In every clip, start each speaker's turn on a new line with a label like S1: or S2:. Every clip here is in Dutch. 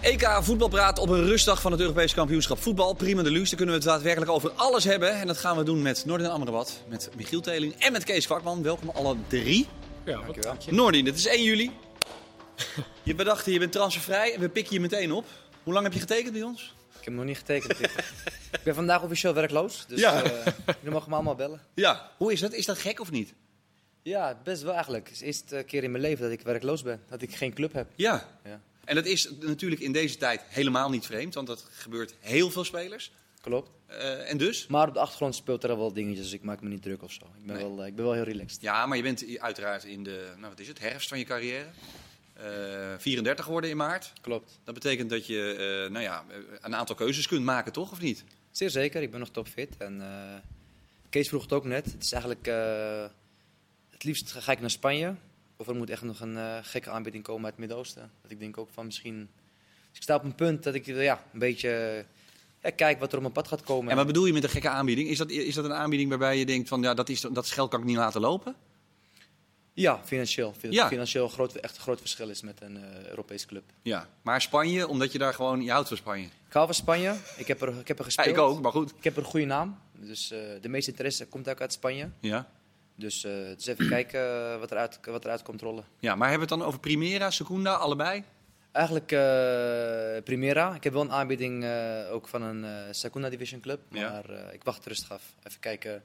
S1: EK Voetbalpraat op een rustdag van het Europees kampioenschap voetbal. Prima de luxe, daar kunnen we het daadwerkelijk over alles hebben. En dat gaan we doen met Noordin Amrabat, met Michiel Teling en met Kees Kwakman. Welkom alle drie.
S2: Ja, wat,
S1: Noordin, het is 1 juli. Je bedacht, je bent transfervrij en we pikken je meteen op. Hoe lang heb je getekend bij ons?
S3: Ik heb hem nog niet getekend. dit. ik ben vandaag officieel werkloos, dus
S1: Ja.
S3: ja. jullie mogen me allemaal bellen.
S1: Ja. Hoe is dat? Is dat gek of niet?
S3: Ja, best wel eigenlijk. Het is de eerste keer in mijn leven dat ik werkloos ben, dat ik geen club heb.
S1: Ja.
S3: Ja.
S1: En dat is natuurlijk in deze tijd helemaal niet vreemd, want dat gebeurt heel veel spelers.
S3: Klopt.
S1: Eh, en dus?
S3: Maar op de achtergrond speelt er wel dingetjes, dus ik maak me niet druk of zo. Ik ben,
S1: Nee.
S3: wel, eh, ik ben wel heel relaxed.
S1: Ja, maar je bent i- uiteraard in de nou, wat is het, herfst van je carrière. Eh, 34 geworden in maart.
S3: Klopt.
S1: Dat betekent dat je eh, nou ja, eh, een aantal keuzes kunt maken, toch? Of niet?
S3: Zeer zeker, ik ben nog topfit. En eh, Kees vroeg het ook net. Het is eigenlijk, eh, het liefst ga ik naar Spanje. Of er moet echt nog een eh, gekke aanbieding komen uit het Midden-Oosten. Dat ik denk ook van misschien... Dus ik sta op een punt dat ik eh, ja, een beetje eh, kijk wat er op mijn pad gaat komen.
S1: En wat bedoel je met een gekke aanbieding? Is dat, is dat een aanbieding waarbij je denkt van ja, dat, is, dat geld kan ik niet laten lopen?
S3: Ja, financieel. Fin-
S1: Ja.
S3: Financieel groot, echt een groot verschil is met een eh Europees club.
S1: Ja. Maar Spanje, omdat je daar gewoon, je houdt van Spanje.
S3: Ik hou van Spanje. Ik heb er, ik heb
S1: Ja,
S3: er gespeeld.
S1: ik ook, maar goed.
S3: Ik heb er een goede naam. Dus eh, de meeste interesse komt ook uit Spanje.
S1: Ja.
S3: Dus, eh, dus even kijken eh, wat eruit, wat eruit komt rollen.
S1: ja, maar hebben we het dan over Primera, Secunda, allebei?
S3: Eigenlijk eh Primera. Ik heb wel een aanbieding eh, ook van een eh Secunda Division club.
S1: Ja.
S3: Maar eh, ik wacht rustig af. Even kijken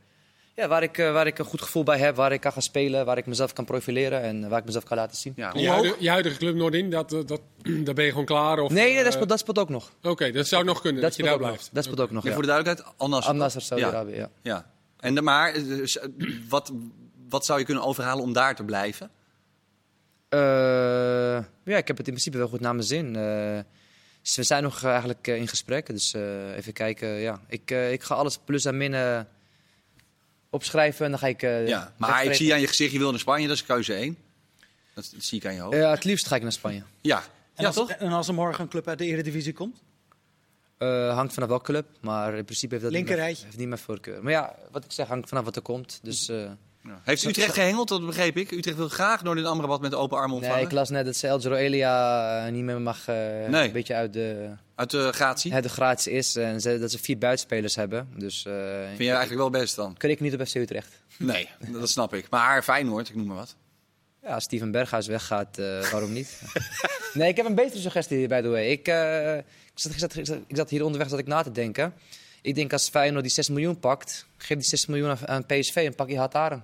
S3: ja, waar, ik, eh, waar ik een goed gevoel bij heb. Waar ik kan gaan spelen. Waar ik mezelf kan profileren. En waar ik mezelf kan laten zien.
S1: Ja,
S2: je,
S1: hoe hoog?
S2: huidige, je huidige club Noordin, dat, dat, dat, daar ben je gewoon klaar? Of,
S3: Nee, nee dat,
S2: eh,
S3: speelt, dat speelt ook nog.
S2: Oké, dat zou nog kunnen, dat, je
S3: speelt
S2: daar
S3: ook nog.
S2: blijft.
S3: Dat speelt ook nog,
S1: En
S3: ja.
S1: voor de duidelijkheid, Annas.
S3: Amnasser Saudi-Arabië, ja.
S1: Ja. En, de- maar eh, s- wat, wat zou je kunnen overhalen om daar te blijven?
S3: Eh, ja, ik heb het in principe wel goed naar mijn zin. Eh, dus we zijn nog eh, eigenlijk eh, in gesprek, dus eh, even kijken. Ja. Ik, eh, ik ga alles plus en min eh, opschrijven en dan ga ik... eh,
S1: Ja, maar ik
S3: wegstrepen.
S1: zie aan je gezicht, je wil naar Spanje, dat is keuze 1. Dat, dat zie ik aan je hoofd.
S3: Eh, het liefst ga ik naar Spanje.
S1: ja,
S4: En,
S1: ja
S4: als,
S1: toch?
S4: en als er morgen een club uit de Eredivisie komt?
S3: Eh, hangt vanaf welke club, maar in principe heeft dat niet mijn-
S4: Linkerrijtje.
S3: heeft niet mijn voorkeur. Maar ja, wat ik zeg, hangt vanaf wat er komt. Dus, eh,
S1: Heeft Utrecht gehengeld, dat begreep ik. Utrecht wil graag Noordin Amrabat met open armen ontvangen.
S3: nee, ik las net dat ze El Jaro Elia eh, niet meer mag... eh, Een beetje uit de,
S1: Uit de gratie.
S3: hè, de gratie is en ze- dat ze vier buitenspelers hebben. Dus eh
S1: Vind jij eigenlijk wel best dan?
S3: kreeg ik niet op FC Utrecht.
S1: Nee, dat snap ik. Maar Feyenoord, ik noem maar wat.
S3: Ja, als Steven Berghuis weggaat, eh, waarom niet? nee, ik heb een betere suggestie, by the way. Ik, eh, ik, zat, ik, zat, ik, zat, ik zat hier onderweg zat ik na te denken. Ik denk als Feyenoord die 6 miljoen pakt, geef die 6 miljoen aan- aan PSV en pak je Hataren.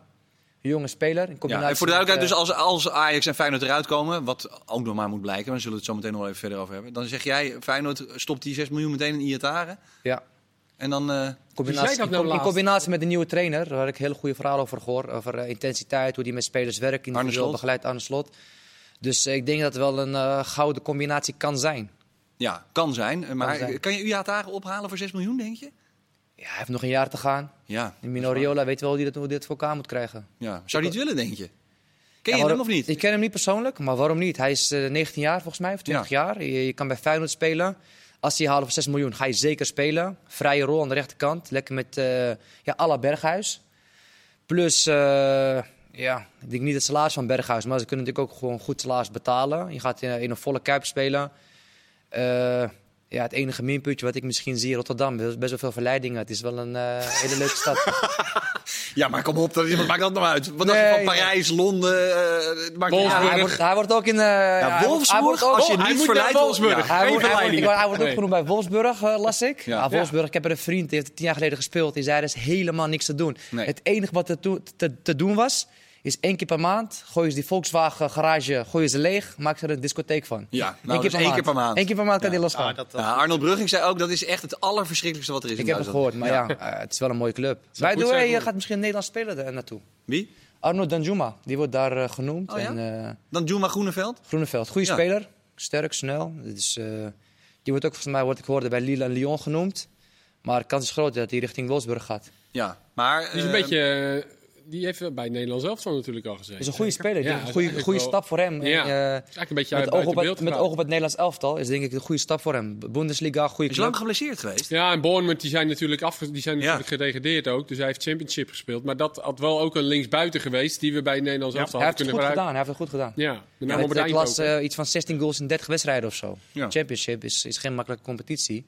S3: Een jonge speler. In
S1: Ja,
S3: combinatie
S1: en voor de
S3: met,
S1: duidelijkheid,
S3: eh,
S1: dus als, als Ajax en Feyenoord eruit komen, wat ook nog maar moet blijken, maar we zullen het zo meteen nog wel even verder over hebben. Dan zeg jij, Feyenoord stopt die 6 miljoen meteen in Iataren.
S3: eh, Ja,
S1: En dan, eh,
S3: in combinatie,
S2: dat nou
S3: in com- in
S2: laatst?
S3: combinatie met de nieuwe trainer, waar ik hele goede verhalen over gehoord. Over eh, intensiteit, hoe die met spelers werkt, individueel
S1: Slot.
S3: begeleid aan de slot. Dus eh, ik denk dat het wel een eh, gouden combinatie kan zijn.
S1: ja, kan zijn. eh, Maar
S3: Kan
S1: kan,
S3: zijn.
S1: je Iataren ophalen voor 6 miljoen, denk je?
S3: Ja, hij heeft nog een jaar te gaan.
S1: Ja.
S3: En Minoriola weet wel hoe hij dat- hoe hij dit voor elkaar moet krijgen.
S1: ja. Zou die het willen, denk je? Ken
S3: Ja,
S1: je hem
S3: waarom-
S1: of niet?
S3: Ik ken hem niet persoonlijk, maar waarom niet? Hij is eh, 19 jaar volgens mij, of 20 jaar. Je, je kan bij Feyenoord spelen. Als hij halen voor 6 miljoen, ga je zeker spelen. Vrije rol aan de rechterkant. Lekker met eh ja, Alla Berghuis. Plus, eh, ja, ik denk niet het salaris van Berghuis, maar ze kunnen natuurlijk ook gewoon goed salaris betalen. Je gaat in, in een volle kuip spelen. Eh, ja, het enige minpuntje wat ik misschien zie in Rotterdam, er is best wel veel verleidingen. Het is wel een eh, hele leuke stad.
S1: Ja, maar kom op, dat, is- wat maakt dat nou uit? Wat dacht
S3: Nee,
S1: je van
S3: ja.
S1: Parijs, Londen, eh, het maakt niet
S2: Wolfsburg.
S1: uit.
S3: hij, wordt, hij wordt ook in. eh, hij wordt- hij wordt
S1: Wolfsburg,
S3: ook-
S1: als je
S2: Oh, hij
S1: niet
S2: moet naar
S1: verleidt...
S2: Wolfsburg.
S1: Ja.
S3: Hij wordt, hij,
S2: Geen
S3: wordt,
S2: verleiding.
S3: ik word- hij wordt ook
S2: Nee.
S3: genoemd bij Wolfsburg, eh, las ik.
S1: Ja.
S3: Ja. Wolfsburg, ik heb er een vriend, die heeft tien jaar geleden gespeeld. Die zei, er is helemaal niks te doen.
S1: Nee.
S3: Het enige wat er toe- te, te doen was, is één keer per maand... gooien ze die Volkswagen garage gooien ze leeg, maken ze er een discotheek van.
S1: Ja, nou, dat is één keer per maand.
S3: Eén keer per maand kan die losgaan.
S4: Ah, dat, dat-
S1: Ja, Arnold Brugging zei ook, dat is echt het allerverschrikkelijkste wat er is
S3: ik
S1: in
S3: heb het
S1: Duitsland.
S3: gehoord, maar ja, eh, het is wel een mooie club.
S2: zou
S3: By the
S2: goed
S3: way,
S2: zijn,
S3: je
S2: hoor.
S3: gaat misschien een Nederlands speler er naartoe.
S1: Wie?
S3: Arno Danjuma, die wordt daar eh, genoemd.
S1: Oh ja?
S3: en, eh,
S1: Dan Juma Groeneveld?
S3: Groeneveld, goede
S1: Ja.
S3: speler. Sterk, snel. Dus, eh, die wordt ook volgens mij, wordt ik hoorde, bij Lille en Lyon genoemd. Maar de kans is groot dat hij richting Wolfsburg gaat.
S1: Ja, maar...
S2: Die is
S1: eh,
S2: een beetje eh, die heeft bij Nederland zelf natuurlijk al gezeten.
S3: is een goede speler. Ik
S2: Ja,
S3: denk
S2: is
S3: een goede,
S2: eigenlijk
S3: goede
S2: wel-
S3: stap voor hem.
S2: Ja.
S3: En, eh,
S2: Is eigenlijk een beetje uit
S3: met, oog
S2: buiten
S3: op
S2: beeld
S3: het, met
S2: geraakt.
S3: oog op het Nederlands elftal is denk ik een goede stap voor hem. Bundesliga, goede
S1: Is
S3: club.
S1: lang geblesseerd geweest.
S2: Ja, en Bournemouth die zijn natuurlijk, afge die zijn
S1: Ja.
S2: natuurlijk gedegradeerd ook. Dus hij heeft Championship gespeeld. Maar dat had wel ook een linksbuiten geweest die we bij Nederland zelf
S3: Hij heeft
S2: hadden
S3: het
S2: kunnen
S3: goed gedaan.
S2: gebruiken.
S3: Hij heeft het goed gedaan.
S2: Ja, met name
S3: Met
S2: op
S3: de
S2: het
S3: klas
S2: eind ook.
S3: eh, iets van 16 goals in 30 wedstrijden of zo.
S1: Ja.
S3: Championship is, is geen makkelijke competitie.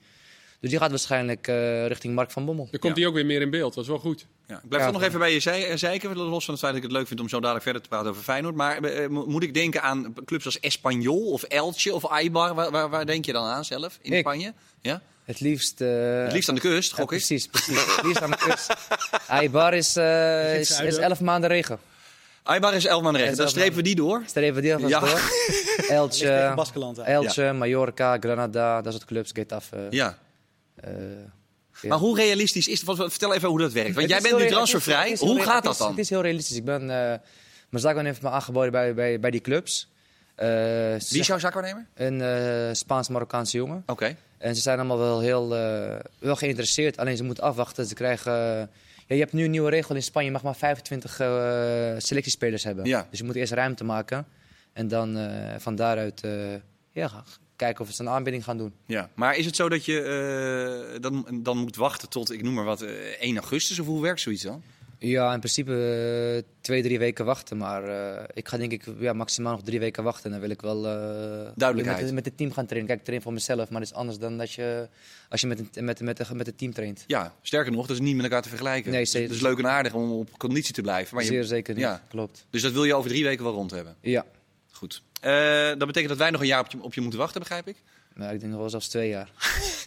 S3: Dus die gaat waarschijnlijk eh, richting Mark van Bommel.
S2: Dan komt hij ook weer meer in beeld. Dat is wel goed.
S1: Ja, ik blijf
S3: Ja,
S1: toch nog
S3: van-
S1: even bij je zei- eh, zeiken. Los van het feit dat ik het leuk vind om zo dadelijk verder te praten over Feyenoord. Maar eh, mo- moet ik denken aan clubs als Espanyol of Elche of Eibar? Waar, waar, waar denk je dan aan zelf in
S3: Ik.
S1: Spanje? Ja?
S3: Het liefst... eh,
S1: Het liefst aan de kust,
S3: ja,
S1: gok ik.
S3: Precies, precies. Het liefst aan de kust. Eibar is, eh,
S2: het
S3: is, is
S2: zuiden.
S3: 11 maanden regen.
S1: Eibar is elf man
S3: Ja,
S1: recht.
S3: is
S1: Dan
S3: elf
S1: strepen we die door.
S3: Stel even die alvast
S1: Ja.
S3: door.
S4: Ligt tegen
S3: Elche,
S4: Baskeland aan.
S3: Elche Mallorca, Granada, dat soort clubs. Getafe.
S1: Ja.
S3: eh, Ja.
S1: Maar hoe realistisch is het? Vertel even hoe dat werkt. Want
S3: Het
S1: jij
S3: is
S1: bent
S3: heel
S1: nu
S3: re- het
S1: transfervrij.
S3: is- het is
S1: Hoe
S3: heel
S1: gaat
S3: re-
S1: dat
S3: het is- Het
S1: dan?
S3: is heel realistisch. Ik ben, eh, mijn zakman heeft me aangeboden bij, bij, bij die clubs. Eh, ze
S1: Wie is jouw zakwaarnemer?
S3: Een eh, Spaans-Marokkaanse jongen.
S1: Oké.
S3: En ze zijn allemaal wel heel eh, wel geïnteresseerd. Alleen ze moeten afwachten. Ze krijgen, eh, ja, je hebt nu een nieuwe regel in Spanje. Je mag maar 25 eh, selectiespelers hebben.
S1: Ja.
S3: Dus je moet eerst ruimte maken. En dan eh, van daaruit eh, ja, gaan kijken of ze een aanbieding gaan doen.
S1: Ja. Maar is het zo dat je eh, dan, dan moet wachten tot, ik noem maar wat, eh, 1 augustus? Of hoe werkt zoiets dan?
S3: Ja, in principe eh, twee, drie weken wachten. Maar eh, ik ga denk ik ja, maximaal nog drie weken wachten. En dan wil ik wel eh,
S1: Duidelijkheid.
S3: Met, met het team gaan trainen. Kijk, ik train voor mezelf. Maar dat is anders dan dat je, als je met, een- met, met, met het team traint.
S1: Ja, sterker nog, dat is niet met elkaar te vergelijken.
S3: Nee,
S1: Dus
S3: zeker.
S1: Het is leuk en aardig om op conditie te blijven. Maar
S3: Zeer
S1: je,
S3: zeker niet.
S1: ja.
S3: Klopt.
S1: dus dat wil je over drie weken wel rond hebben.
S3: Ja.
S1: Goed. Eh, dat betekent dat wij nog een jaar op je, op je moeten wachten, begrijp ik?
S3: Nou, ik denk nog wel zelfs twee jaar.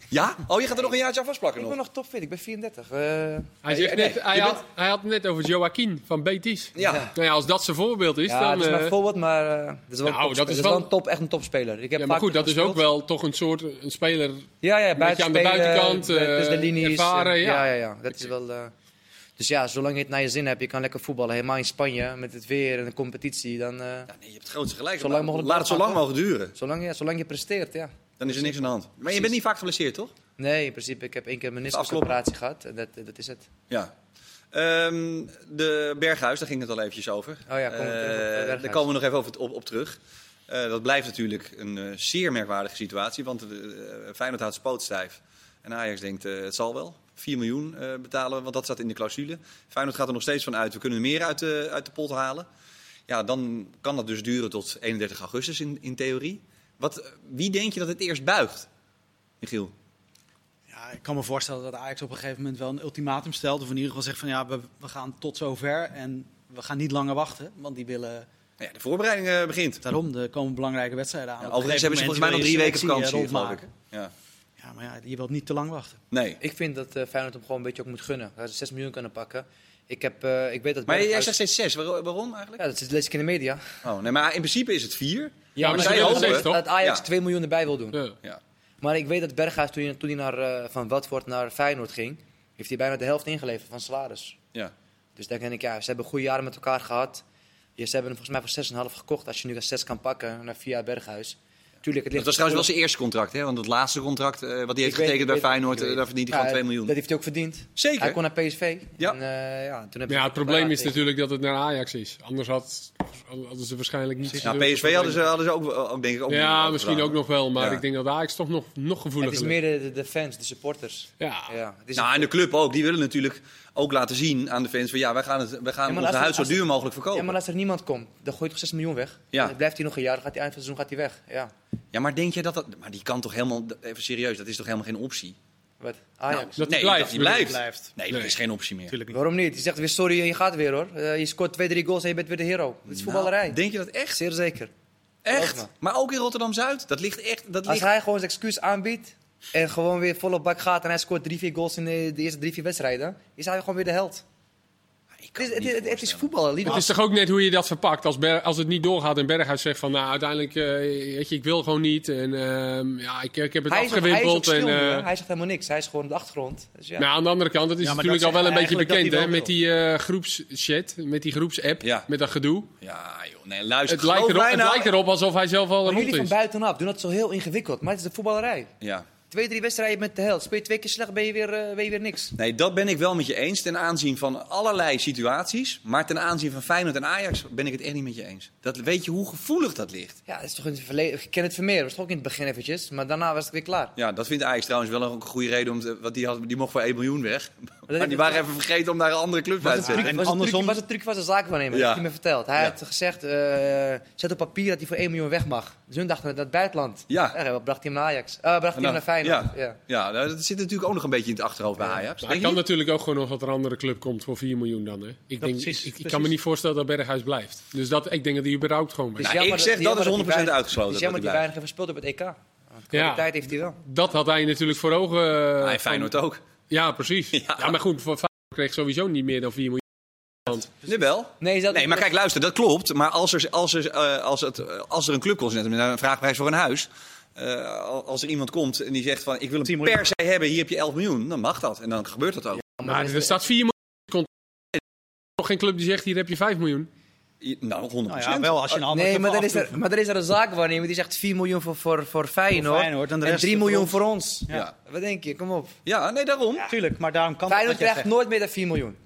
S1: Ja? Oh, je gaat er nog een jaartje aan vastplakken
S3: Ik
S1: nog?
S3: ben nog topfit, ik ben Eh, 34.
S2: Hij, zegt
S1: nee,
S2: net, hij,
S1: je
S2: had, hij had het net over Joaquin van Betis.
S1: Ja.
S2: Nou ja, als dat zijn voorbeeld is,
S3: ja,
S2: dan...
S3: dat is
S2: eh,
S3: mijn voorbeeld, maar eh, dat is wel,
S2: nou,
S3: een topspeler.
S2: dat is
S3: Dat is wel
S2: wel-
S3: een top, echt een topspeler. Ik heb
S2: ja, maar
S3: vaak
S2: goed, dat is ook
S3: gespeeld.
S2: wel toch een soort een speler...
S3: Ja, ja,
S2: beetje aan de
S3: buitenspelen,
S2: buitenkant, eh,
S3: tussen de linies.
S2: ervaren,
S3: en- ja,
S2: ja.
S3: ja, ja, dat is wel... eh, dus ja, zolang je het naar je zin hebt, je kan lekker voetballen. Helemaal in Spanje, met het weer en de competitie. Dan, eh,
S1: Ja, nee, je hebt het grootste gelijk.
S3: Zo lang
S1: Laat-
S3: mogelijk
S1: Laat het zo lang mogelijk duren.
S3: zolang, je, zolang je presteert, ja.
S1: Dan is er niks aan de hand. Maar je bent niet vaak geblesseerd, toch?
S3: Nee, in principe, ik heb één keer mijn
S1: Afkloppen.
S3: meniscusoperatie gehad. En dat, dat is het.
S1: Ja. Ehm, de Berghuis, daar ging het al eventjes over.
S3: Oh ja, komen we terug op, eh,
S1: Eh,
S3: Berghuis.
S1: daar komen we nog even over, op, op terug. Eh, dat blijft natuurlijk een eh, zeer merkwaardige situatie. Want eh, Feyenoord houdt spoot stijf. En Ajax denkt, eh, het zal wel. 4 miljoen eh, betalen we, want dat staat in de clausule. Feyenoord gaat er nog steeds van uit. We kunnen meer uit de, uit de pot halen. Ja, dan kan dat dus duren tot 31 augustus in, in theorie. Wat, eh, wie denk je dat het eerst buigt, Michiel?
S4: Ja, ik kan me voorstellen dat Ajax op een gegeven moment wel een ultimatum stelt. Of in ieder geval zegt van ja, we, we gaan tot zover en we gaan niet langer wachten. Want die willen,
S1: Nou ja, de voorbereiding eh, begint.
S4: daarom, er komen belangrijke wedstrijden aan.
S1: Ja,
S4: Op een
S1: overigens hebben ze
S4: gegeven
S1: volgens mij nog
S4: moment
S1: drie weken
S4: wil je
S1: vakantie,
S4: selectie, eh,
S1: geloof ik.
S4: rondmaken.
S1: Ja.
S4: Ja, maar ja, je wilt niet te lang wachten.
S1: Nee.
S3: Ik vind dat eh, Feyenoord hem gewoon een beetje ook moet gunnen. Dat ze 6 miljoen kunnen pakken. Ik, heb, eh, ik weet dat...
S1: Maar jij
S3: Berghuis-
S1: zegt steeds zes. Waar- waarom eigenlijk?
S3: Ja, dat lees ik in de media.
S1: Oh, nee, maar in principe is het vier.
S3: Ja,
S2: maar
S1: maar
S2: ze
S1: zij
S2: willen
S1: hopen-
S2: steeds, toch?
S3: dat Ajax
S1: Ja.
S3: 2 miljoen erbij wil doen.
S2: Ja.
S1: Ja.
S3: Maar ik weet dat Berghuis, toen hij, toen hij naar, eh, van Watford naar Feyenoord ging, heeft hij bijna de helft ingeleverd van salaris.
S1: Ja.
S3: Dus dan denk ik, ja, ze hebben goede jaren met elkaar gehad. Ja, ze hebben hem volgens mij voor 6,5 gekocht. Als je nu dat 6 kan pakken naar via Berghuis. Tuurlijk, het
S1: Dat
S3: ligt
S1: was trouwens wel zijn eerste contract, hè? Want het laatste contract eh, wat hij heeft
S3: Ik weet-
S1: getekend bij
S3: ik weet-
S1: Feyenoord,
S3: ik weet-
S1: eh, daar verdient hij gewoon
S3: Ja,
S1: 2 miljoen.
S3: Dat heeft hij ook verdiend.
S1: Zeker.
S3: Hij kon naar PSV.
S1: Ja.
S3: En, eh, ja, toen heb
S2: Maar ja, het probleem is natuurlijk dat het naar Ajax is. Anders had, hadden ze waarschijnlijk niet...
S1: Nou,
S2: zoveel
S1: PSV hadden ze, hadden ze ook, ook, denk ik, ook
S2: Ja,
S1: miljoen
S2: misschien
S1: gedaan.
S2: ook nog wel, maar
S1: Ja.
S2: ik denk dat Ajax toch nog, nog
S3: Het
S2: gevoeliger
S3: is meer de, de- de fans, de supporters.
S2: Ja.
S3: Ja, het is
S1: Nou, en de club ook. Die willen natuurlijk ook laten zien aan de fans van ja, wij gaan, het, wij gaan
S3: maar
S1: ons
S3: als-
S1: huis zo
S3: als-
S1: duur mogelijk
S3: Ja,
S1: verkopen.
S3: maar als er niemand komt, dan gooit toch 6 miljoen weg.
S1: Ja.
S3: Dan blijft hij nog een jaar, dan gaat hij eind van het seizoen gaat hij weg. Ja.
S1: denk je dat dat... Maar die kan toch helemaal... Even serieus, dat is toch helemaal geen optie?
S3: Wat?
S2: Nou,
S3: Ajax.
S2: Dat
S1: nee,
S2: die blijft,
S1: dat die
S2: bedoel
S1: blijft.
S4: Blijft.
S1: Nee, dat
S2: Nee.
S1: is geen optie meer.
S4: Tuurlijk niet.
S3: Waarom niet? Je zegt weer sorry en je gaat weer hoor. Eh, je scoort twee, drie goals en je bent weer de hero. Het is voetballerij.
S1: Nou, denk je dat echt?
S3: Zeer zeker.
S1: Echt?
S3: Geloof
S1: Maar ook in Rotterdam-Zuid? Dat ligt echt... Dat
S3: Als
S1: ligt...
S3: hij gewoon zijn excuus aanbiedt en gewoon weer volle bak gaat en hij scoort drie, vier goals in eh, de, de eerste drie, vier wedstrijden, is hij gewoon weer de held.
S1: Ik
S3: Het
S1: kan
S3: is,
S1: me
S3: het,
S1: niet
S3: het- het is
S1: voorstellen.
S3: voetbal,
S2: Het is toch ook net hoe je dat verpakt. Als, Ber- als het niet doorgaat en Berghuis zegt van... Nou, uiteindelijk, eh, weet je, ik wil gewoon niet. En ehm, ja, ik, ik heb het
S3: Hij is, ook- hij, is ook
S2: afgewimpeld.
S3: stil
S2: en,
S3: nu,
S2: eh,
S3: hè. hij zegt helemaal niks. Hij is gewoon op de achtergrond. Dus ja.
S2: Nou, aan de andere kant, dat is
S4: Ja, maar
S2: natuurlijk
S4: dat
S2: al wel een
S4: zegt
S2: beetje
S4: eigenlijk
S2: bekend,
S4: dat
S2: hè?
S4: hij
S2: Met die eh, groepschat, met die groepsapp,
S1: Ja.
S2: met dat gedoe.
S1: Ja, joh. Nee, luister.
S2: Het lijkt,
S1: geloof
S2: erop,
S1: mij
S2: het
S1: nou-
S2: lijkt erop alsof hij zelf al
S3: maar
S2: rond
S3: jullie van
S2: is.
S3: buitenaf doen dat zo heel ingewikkeld, maar het is de voetballerij.
S1: Ja.
S3: Twee, drie wedstrijden met de held. Speel je twee keer slecht, ben je weer, eh, ben je weer niks.
S1: Nee, dat ben ik wel met je eens ten aanzien van allerlei situaties. Maar ten aanzien van Feyenoord en Ajax ben ik het echt niet met je eens. Dat, weet je hoe gevoelig dat ligt?
S3: Ja, dat is toch in het verleden. Ik ken het Vermeer, was toch ook in het begin eventjes. Maar daarna was het weer klaar.
S1: Ja, dat vindt Ajax trouwens wel een goede reden. Om te- want die, had, die mocht voor 1 miljoen weg. Maar
S3: heeft-
S1: die waren even vergeten om naar een andere club uit te
S4: het
S1: zetten.
S4: En
S3: was het
S4: andersom-
S3: truc, was het truc van zijn zaakwaarnemer,
S1: Ja.
S3: dat hij me verteld. Hij
S1: Ja.
S3: had gezegd, eh, zet op papier dat hij voor 1 miljoen weg mag. Dus hun dachten dat het buitenland.
S1: Ja.
S3: Ja, wat bracht hij hem naar Ajax? Eh, bracht hij hem naar Feyenoord. Ja.
S1: Nou, Ja, nou, dat zit natuurlijk ook nog een beetje in het achterhoofd bij Ajax.
S2: Maar
S1: Denk
S2: het kan
S1: je?
S2: natuurlijk ook gewoon nog dat er een andere club komt voor 4 miljoen dan. Hè? Ik, denk,
S4: precies,
S2: ik, ik
S4: precies.
S2: kan me niet voorstellen dat Berghuis blijft. Dus dat, ik denk dat hij überhaupt gewoon
S3: Het
S2: blijft.
S3: is
S1: Nou,
S3: jammer
S1: ik zeg,
S3: het is
S1: dat is
S3: jammer
S1: 100%
S3: hij weinig-
S1: uitgesloten
S3: Het is
S1: dat hij
S3: jammer dat hij weinig heeft gespeeld op het EK. Want kwaliteit heeft hij wel.
S2: Dat had hij natuurlijk voor ogen. eh,
S1: Ah, en
S2: van-
S1: Feyenoord ook.
S2: Ja, precies. Ja. maar goed, voor Feyenoord kreeg sowieso niet meer dan 4 miljoen.
S1: Jawel.
S3: Nee, is dat
S1: Nee, maar kijk, luister, dat klopt. Maar als er, als er, eh, als het, eh, als er een club komt, net met een vraagprijs voor een huis. eh, al- als er iemand komt en die zegt van ik wil
S4: 10
S1: hem
S4: miljoen.
S1: per se hebben, hier heb je 11 miljoen, dan mag dat. En dan gebeurt dat ook.
S2: Maar er staat 4 miljoen. contract. Er is Nog geen club die zegt: hier heb je 5 miljoen.
S1: Je- Nou, 100%.
S4: Nou ja, wel als je een andere
S3: Nee,
S4: club
S3: maar dan,
S4: wil
S3: is er,
S4: aftroeven.
S3: maar dan is er een zaakwaarnemer die zegt 4 miljoen voor, voor, voor Feyenoord,
S4: Voor Feyenoord en de rest
S3: 3
S4: voor
S3: miljoen
S4: ons.
S3: voor ons.
S1: Ja. Ja.
S3: Wat denk je? Kom op.
S1: nee, daarom.
S4: Tuurlijk, maar daarom kan
S3: Feyenoord
S4: dat. wat jij
S3: krijgt nooit meer dan 4 miljoen.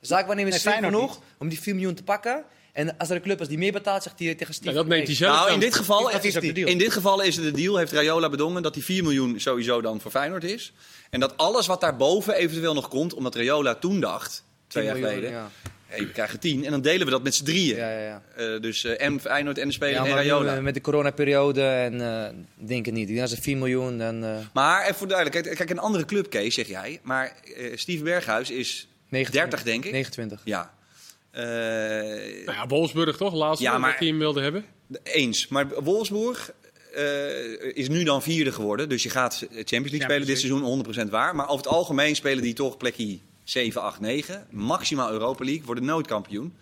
S3: De zaakwaarnemer is
S4: Nee,
S3: slim
S4: Feyenoord
S3: genoeg om die 4 miljoen te pakken. En als er een club is die meer betaalt, zegt hij tegen Steve.
S2: Ja, dat neemt hij
S3: nee.
S2: zelf.
S1: Nou,
S2: aan.
S1: in dit geval,
S4: Dat is ook de deal.
S1: in dit geval is het de deal, heeft Rayola bedongen, dat die 4 miljoen sowieso dan voor Feyenoord is. En dat alles wat daarboven eventueel nog komt, omdat Rayola toen dacht, twee
S3: 10
S1: jaar
S3: miljoen,
S1: geleden,
S3: ja.
S1: hé, we krijgen 10 en dan delen we dat met z'n drieën.
S3: Ja, ja, ja.
S1: Eh, dus eh, en Feyenoord en de speler
S3: Ja,
S1: en
S3: maar
S1: Rayola.
S3: nu, eh, met de coronaperiode en eh denk het niet. Ik denk als er 4 miljoen, dan eh
S1: Maar even voor de duidelijkheid, eh, kijk, een andere club, Kees, zeg jij. Maar eh Steve Berghuis is
S3: 29,
S1: 30, denk ik.
S3: 29.
S1: Ja. Eh,
S2: Nou ja, Wolfsburg toch? Laatst
S1: Ja,
S2: ja,
S1: maar-
S2: dat hij hem wilde hebben.
S1: eens. Maar Wolfsburg eh, is nu dan vierde geworden. Dus je gaat Champions League spelen dit seizoen 100% waar. Maar over het algemeen spelen die toch plekje 7, 8, 9. Maximaal Europa League, worden nooit kampioen.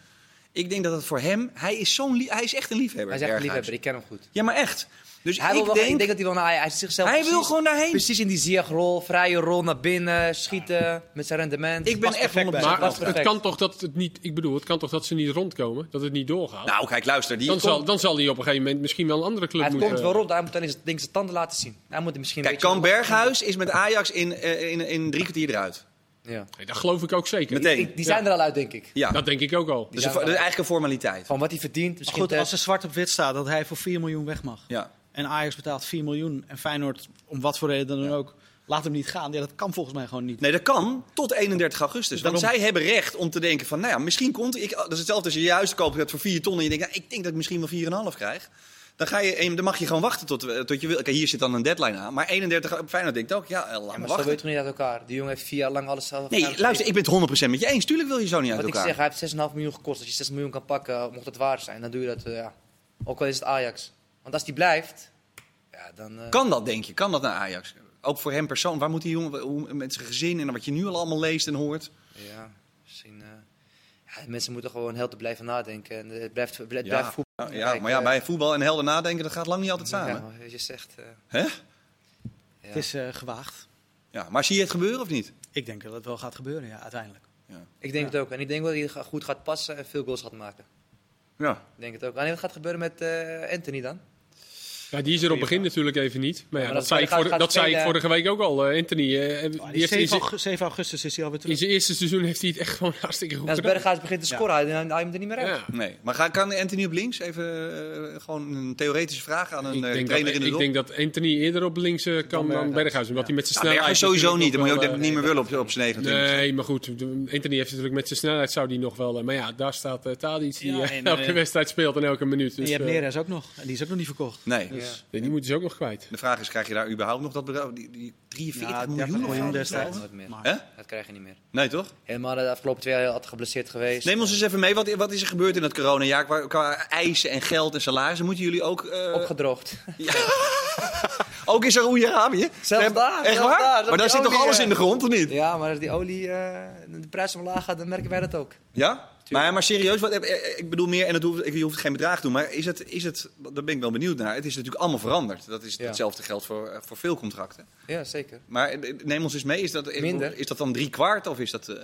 S1: Ik denk dat het voor hem, hij is, zo'n lie- hij is echt een liefhebber.
S3: Hij is echt een
S1: Berghuis.
S3: liefhebber, ik ken hem goed.
S1: Ja, maar echt. Dus
S3: Hij
S1: ik,
S3: wil wel,
S1: denk,
S3: ik denk dat hij wel naar hij is zichzelf
S1: hij
S3: precies,
S1: wil gewoon daarheen.
S3: precies in die ziyech vrije rol naar binnen, schieten met zijn rendement.
S1: Ik ben
S4: Past
S1: echt
S4: perfect
S1: 100%
S4: bij
S2: Maar
S4: dat
S1: maar,
S4: is
S2: het, het kan toch dat het niet. Ik bedoel, het kan toch dat ze niet rondkomen, dat het niet doorgaat.
S1: Nou, kijk, luister. Die
S2: dan,
S1: komt-
S2: zal, dan zal hij op een gegeven moment misschien wel een andere club
S3: Hij
S2: moeten.
S4: eh,
S3: komt wel rond, hij moet alleen zijn, denk ik, zijn tanden laten zien. Hij moet er misschien
S1: Kijk,
S3: een
S1: kan
S3: beetje-
S1: Berghuis is met Ajax in, eh, in, in drie kwartier eruit.
S3: Ja.
S2: Nee, dat geloof ik ook zeker.
S1: Meteen.
S3: Die, die zijn er al uit, denk ik.
S1: Ja,
S2: Dat
S1: dat
S2: denk ik ook al.
S1: is, een- dat is eigenlijk een formaliteit.
S3: Van wat hij verdient. Misschien
S4: Goed,
S3: eh,
S4: als er zwart op wit staat dat hij voor 4 miljoen weg mag.
S1: Ja.
S4: En Ajax betaalt 4 miljoen. En Feyenoord, om wat voor reden dan ook, laat hem niet gaan. Ja, dat kan volgens mij gewoon niet.
S1: Nee, dat kan tot 31 augustus. Want
S4: Daarom-
S1: zij hebben recht om te denken van, nou ja, misschien komt... Ik, dat is hetzelfde als je je huis koopt hebt voor 4 ton en je denkt, nou, ik denk dat ik misschien wel 4,5 krijg. Dan, ga je, en dan mag je gewoon wachten tot, eh, tot je wil. Kijk, hier zit dan een deadline aan. Maar 31, Feyenoord denkt ook, ja, eh, laat
S3: ja,
S1: maar
S3: maar zo weet je
S1: wachten.
S3: toch niet uit elkaar. Die jongen heeft vier jaar lang alles zelf
S1: Nee,
S3: gedaan.
S1: luister, ik ben het 100% met je eens. Tuurlijk wil je zo niet uit
S3: Wat ik
S1: elkaar.
S3: zeg, hij heeft 6,5 miljoen gekost. Als je 6 miljoen kan pakken, mocht dat waar zijn, dan doe je dat. eh, ja. Ook al is het Ajax. Want als die blijft, ja, dan. eh,
S1: Kan dat, denk je? Kan dat naar Ajax? Ook voor hem persoon. Waar moet die jongen hoe- met zijn gezin en wat je nu al allemaal leest en hoort?
S3: Ja, misschien. eh, ja, mensen moeten gewoon heel te blijven nadenken. En eh, het blijft, het blijft
S1: Ja,
S3: voetbal.
S1: Oh, ja, maar ja, bij voetbal en helden nadenken, dat gaat lang niet altijd samen.
S3: eh, Ja, wat je zegt. eh,
S1: Hè?
S3: ja.
S4: Het is eh, gewaagd.
S1: Ja, maar zie je het gebeuren of niet?
S4: Ik denk dat het wel gaat gebeuren, ja, uiteindelijk.
S3: Ik denk het ook. En ik denk wel dat hij ga- goed gaat passen en veel goals gaat maken.
S1: Ja.
S3: Ik denk het ook. Alleen wat gaat gebeuren met eh, Anthony dan?
S2: Ja, die is er op het begin natuurlijk even niet. Maar ja,
S3: Ja, maar
S2: dat,
S3: dat
S2: zei, ik
S3: gaat-
S2: voor,
S3: gaat
S2: dat zei ik
S3: spelen.
S2: vorige week ook al. eh, Anthony, eh,
S4: Maar
S2: die heeft in,
S4: 7,
S2: zijn-
S4: augustus, 7 augustus is hij alweer
S2: in
S4: terug.
S2: zijn eerste seizoen heeft hij het echt gewoon hartstikke goed
S3: als
S2: gedaan.
S3: Berghuis begint te scoren, dan haal je hem er niet meer uit.
S2: Ja.
S1: Nee. Maar ga, kan Anthony op links even eh, gewoon een theoretische vraag aan
S2: Ik
S1: een eh,
S2: denk,
S1: trainer
S2: dat,
S1: in de
S2: ik
S1: dop?
S2: denk dat Anthony eerder op links eh, kan dan
S4: Berghuis.
S2: Berghuis. Omdat hij met zijn
S1: Nou,
S2: snelheid...
S1: Berghuis sowieso niet.
S2: natuurlijk
S1: Dan moet je ook
S2: nog
S1: dat
S2: wel,
S1: niet meer willen op, op zijn 29.
S2: eh, Nee, maar goed. Anthony heeft natuurlijk met zijn snelheid zou die nog wel... eh, Maar ja, daar staat eh Tadic die
S4: Ja,
S2: eh,
S4: en, eh,
S2: elke wedstrijd speelt en elke minuut.
S4: En
S2: Dus,
S4: je hebt
S2: eh,
S4: Neres ook nog. En die is ook nog niet verkocht.
S1: Nee. Dus
S3: Ja.
S2: die moeten ze ook nog kwijt.
S1: De vraag is, krijg je daar überhaupt nog dat bedrag? Die, die 43
S4: Ja, 30
S1: miljoen? of
S4: miljoen
S1: zo?
S4: destijds.
S3: Nooit meer.
S4: Maar-
S1: Hè?
S3: Dat krijg je niet meer.
S1: Nee, toch?
S3: Helemaal eh, de afgelopen twee jaar had geblesseerd geweest.
S1: Neem ons eens even mee. Wat, wat is er gebeurd in het coronajaar qua, qua eisen en geld en salarissen? Moeten jullie ook... eh,
S3: Opgedroogd.
S1: ook in Saoedi-Arabië?
S3: Zelfs
S1: Heb-
S3: daar,
S1: Echt
S3: zelfs
S1: waar?
S3: daar,
S1: maar
S3: dat
S1: daar
S3: die
S1: zit toch
S3: olie,
S1: alles
S3: eh,
S1: in de grond, of niet?
S3: Ja, maar als die olie eh, de prijs omlaag gaat, dan merken wij dat ook.
S1: Ja? Maar, maar serieus, wat, eh, eh, ik bedoel meer, en dat hoeft, ik- je hoeft geen bedrag te doen, maar is het, is het, daar ben ik wel benieuwd naar. Het is natuurlijk allemaal veranderd. Dat is
S3: Ja.
S1: hetzelfde geldt voor, eh, voor veel contracten.
S3: Ja, zeker.
S1: Maar eh, neem ons eens mee, is dat, ik bedoel,
S3: Minder.
S1: is dat dan drie kwart of is dat... eh,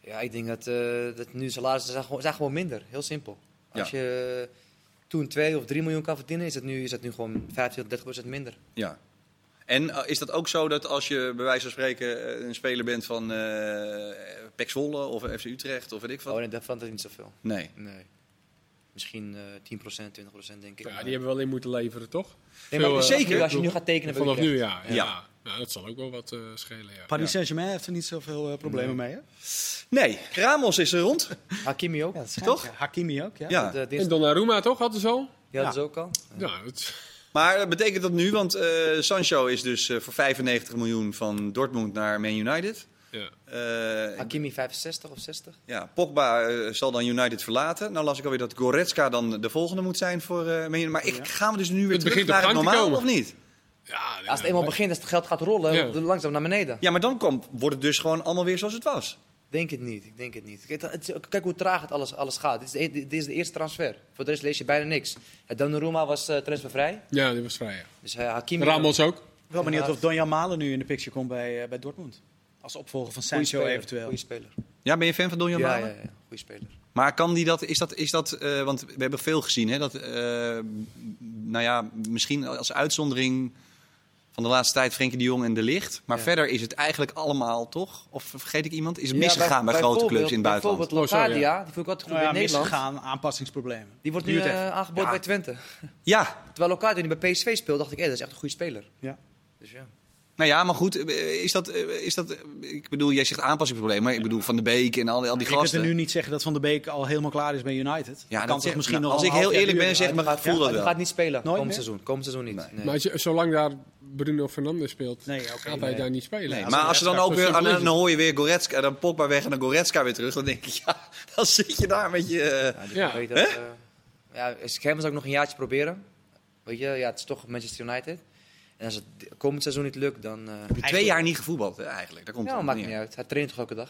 S3: Ja, ik denk dat, eh, dat nu de salarissen zijn gewoon, zijn gewoon minder. Heel simpel. Als
S1: Ja.
S3: je eh, toen 2 of 3 miljoen kan verdienen, is dat nu, is dat nu gewoon 25, 30 procent minder.
S1: ja. En eh, is dat ook zo dat als je bij wijze van spreken eh, een speler bent van eh PEC Zwolle of FC Utrecht of weet ik wat?
S3: Oh nee, dat verandert niet zoveel.
S1: Nee.
S3: Nee. Misschien eh 10%, 20% denk ik.
S2: Ja, die hebben wel in moeten leveren, toch?
S3: Nee, maar
S2: Veel, eh,
S3: zeker als je
S2: bedoel-
S3: nu gaat tekenen voor
S2: Vanaf
S3: Utrecht.
S2: nu, ja. ja.
S1: Ja.
S2: Nou, dat zal ook wel wat eh, schelen, ja.
S4: Paris Saint-Germain heeft er niet zoveel eh, problemen mee. Hè?
S1: Nee, Ramos is er rond.
S3: Hakimi ook.
S1: schijnt, ja.
S4: Hakimi ook, ja.
S1: Ja.
S3: Dat, eh,
S2: En
S3: dinsdag-
S2: Donnarumma toch, hadden ze al?
S3: die hadden
S4: Ja.
S3: ze dus ook al.
S2: Ja, het,
S1: Maar eh, betekent dat nu, want eh, Sancho is dus eh, voor 95 miljoen van Dortmund naar Man United.
S2: ja.
S1: Eh,
S3: Hakimi 65 of 60.
S1: ja, Pogba eh, zal dan United verlaten. Nou las ik alweer dat Goretzka dan de volgende moet zijn voor eh, Man United. Maar
S3: Oh
S1: ik, gaan we dus nu weer
S2: Het
S1: terug
S2: begint op
S1: naar het
S2: gang te
S1: normaal
S2: komen.
S1: of niet?
S2: ja
S3: Als het eenmaal begint, als het geld gaat rollen,
S2: Ja.
S3: langzaam naar beneden.
S1: Ja, maar dan komt, wordt het dus gewoon allemaal weer zoals het was.
S3: Denk het niet, ik denk het niet. Kijk, het is- kijk hoe traag het alles, alles gaat. Dit is, de, e- dit is de eerste transfer. Voor de rest lees je bijna niks. Eh, Donnarumma was eh, transfervrij.
S2: Ja, die was vrij, ja.
S3: Dus eh, Hakimi...
S2: Ramos ook.
S4: Wel benieuwd of Donjan Malen nu in de picture komt bij, eh, bij Dortmund. Als opvolger van
S3: Goeie
S4: Sancho
S3: speler,
S4: eventueel.
S3: Goeie speler.
S1: Ja, ben je fan van Donjan
S3: Ja, ja,
S1: Malen?
S3: ja, goeie speler.
S1: Maar kan die dat, is dat, is dat eh, want we hebben veel gezien, hè, dat, eh, nou ja, misschien als uitzondering van de laatste tijd Frenkie de Jong en De Licht. Maar
S3: Ja.
S1: verder is het eigenlijk allemaal toch, of vergeet ik iemand, is het misgegaan bij, grote clubs in het buitenland?
S3: Bijvoorbeeld
S2: Oh, sorry,
S3: Locadia, die vond ik altijd goed
S4: Nou ja,
S3: in Nederland.
S4: misgegaan, aanpassingsproblemen.
S3: Die wordt nu
S4: Duurt
S3: eh,
S4: even.
S3: aangeboden
S1: Ja.
S3: bij Twente.
S1: Ja,
S3: Terwijl Locadia nu bij PSV speelt, dacht ik, hé, dat is echt een goede speler.
S4: Ja.
S3: Dus ja.
S1: nou ja, maar goed, eh, is dat, eh, is dat eh, ik bedoel, jij zegt aanpassingsprobleem, maar ik bedoel Van de Beek en al, die- al die
S4: Ik kunt er
S1: gasten.
S4: nu niet zeggen dat Van der Beek al helemaal klaar is bij United.
S1: ja,
S4: kan
S1: dat
S4: toch
S1: zeg-
S4: misschien
S1: nou,
S4: nog
S1: als ik
S4: een half
S1: heel
S4: jaar
S1: eerlijk ben,
S4: duren.
S1: zeg maar,
S3: Hij
S1: ik voel dat
S3: hij
S1: wel.
S3: gaat niet spelen
S4: Nooit
S3: komend
S4: meer?
S3: seizoen. Komend seizoen niet. Nee.
S2: Maar als je, zolang daar Bruno Fernandes speelt,
S4: Nee, oké,
S2: gaat hij
S4: nee.
S2: daar niet spelen.
S1: Nee, maar als ze dan ook weer, dan, dan hoor je weer Goretzka, dan Pogba weg en dan Goretzka weer terug, dan denk ik, ja, dan zit je daar met je... eh,
S3: Ja,
S2: Ja.
S3: ja. Weet dat, eh, ja, Schermen zou ik nog een jaartje proberen. Weet je, ja, het is toch Manchester United. En als het d- komend seizoen niet lukt, dan... eh
S1: Heb je twee jaar niet gevoetbald, hè, eigenlijk. Daar komt
S3: ja,
S1: het op
S3: maakt
S1: neer.
S3: niet uit. Hij traint toch elke dag?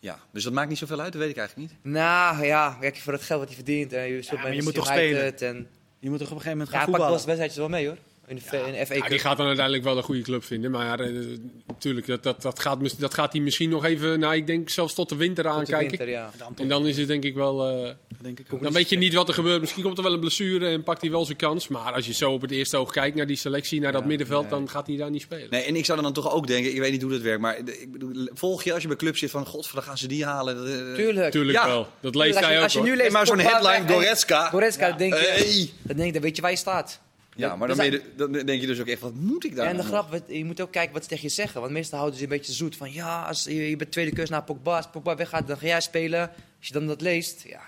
S1: Ja, dus dat maakt niet zoveel uit, dat weet ik eigenlijk niet.
S3: Nou ja, kijk voor het geld wat hij verdient. En je speelt
S4: maar
S3: bij
S4: je moet toch
S3: Manchester United En,
S4: Je moet toch op een gegeven
S3: ja,
S4: moment gaan
S3: hij pakt wel
S4: voetballen.
S3: eens wedstrijdjes wel mee hoor. In de, V- in de FA
S2: Ja, die
S3: Cup.
S2: gaat dan uiteindelijk wel een goede club vinden. Maar eh, natuurlijk, dat, dat, dat, gaat, mis- dat gaat hij misschien nog even, nou, ik denk zelfs tot de winter
S3: Tot de
S2: aankijken.
S3: winter, ja.
S4: Dan,
S2: En dan is het denk ik wel... eh,
S4: denk ik
S2: dan weet je niet wat er gebeurt. Misschien komt er wel een blessure en pakt hij wel zijn kans. Maar als je zo op het eerste oog kijkt naar die selectie, naar dat middenveld, dan gaat hij daar niet spelen.
S1: Nee, en ik zou dan toch ook denken, ik weet niet hoe dat werkt, maar de- ik bedoel, volg je als je bij club zit van, godverdomme, gaan ze die halen? Dat, eh,
S3: Tuurlijk.
S2: Tuurlijk
S1: Ja.
S2: wel. Dat
S3: Tuurlijk,
S2: leest
S3: als je-
S2: hij ook
S3: als je
S2: hoor.
S3: nu leest
S1: maar zo'n
S3: Pogba
S1: headline,
S3: weg en-
S1: Goretzka.
S3: Goretzka, dan denk je,
S1: Hey.
S3: dan denk, je, dan weet je waar je staat.
S1: Ja, maar dan,
S3: Dus
S1: ben je- dan denk je dus ook echt, wat moet ik daar
S3: en de
S1: nou
S3: grap, wat- je moet ook kijken wat ze tegen je zeggen. Want meestal houden ze een beetje zoet van... Ja, als je, je bent tweede keus naar Pogba. Als Pogba weggaat, dan ga jij spelen. Als je dan dat leest, ja...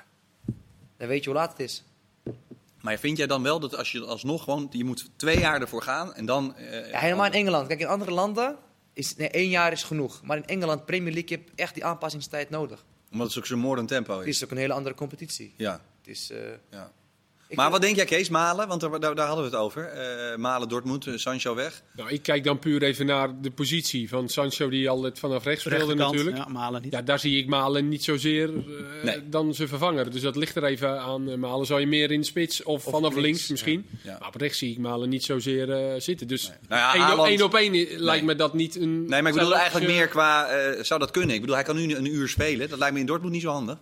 S3: Dan weet je hoe laat het is.
S1: nog? Maar vind jij dan wel dat als je alsnog gewoon, je moet twee jaar ervoor gaan en dan... eh,
S3: Ja, helemaal in Engeland. Kijk, in andere landen is nee, één jaar is genoeg. Maar in Engeland, Premier League, heb je echt die aanpassingstijd nodig.
S1: Omdat het ook zo'n moordend tempo
S3: Het
S1: is.
S3: is ook een hele andere competitie.
S1: Ja,
S3: Het is, eh,
S1: ja.
S3: ik-
S1: maar wat denk jij Kees, Malen? Want daar, daar, daar hadden we het over. Eh, Malen, Dortmund, eh, Sancho weg.
S2: Nou, ik kijk dan puur even naar de positie van Sancho, die altijd vanaf rechts speelde natuurlijk.
S4: Ja, Malen niet.
S2: Ja, daar zie ik Malen niet zozeer eh,
S1: Nee.
S2: dan zijn vervanger. Dus dat ligt er even aan. Eh, Malen zou je meer in de spits of,
S3: Of
S2: vanaf
S3: links,
S2: links, misschien.
S1: Ja.
S2: Maar op rechts zie ik Malen niet zozeer eh, zitten. Dus één
S1: Nou ja,
S2: op-
S1: Haaland-
S2: één op één eh, lijkt me dat niet een...
S1: Nee, maar ik bedoel
S2: zou-
S1: eigenlijk meer qua, eh, zou dat kunnen? Ik bedoel, hij kan nu een uur spelen. Dat lijkt me in Dortmund niet zo handig.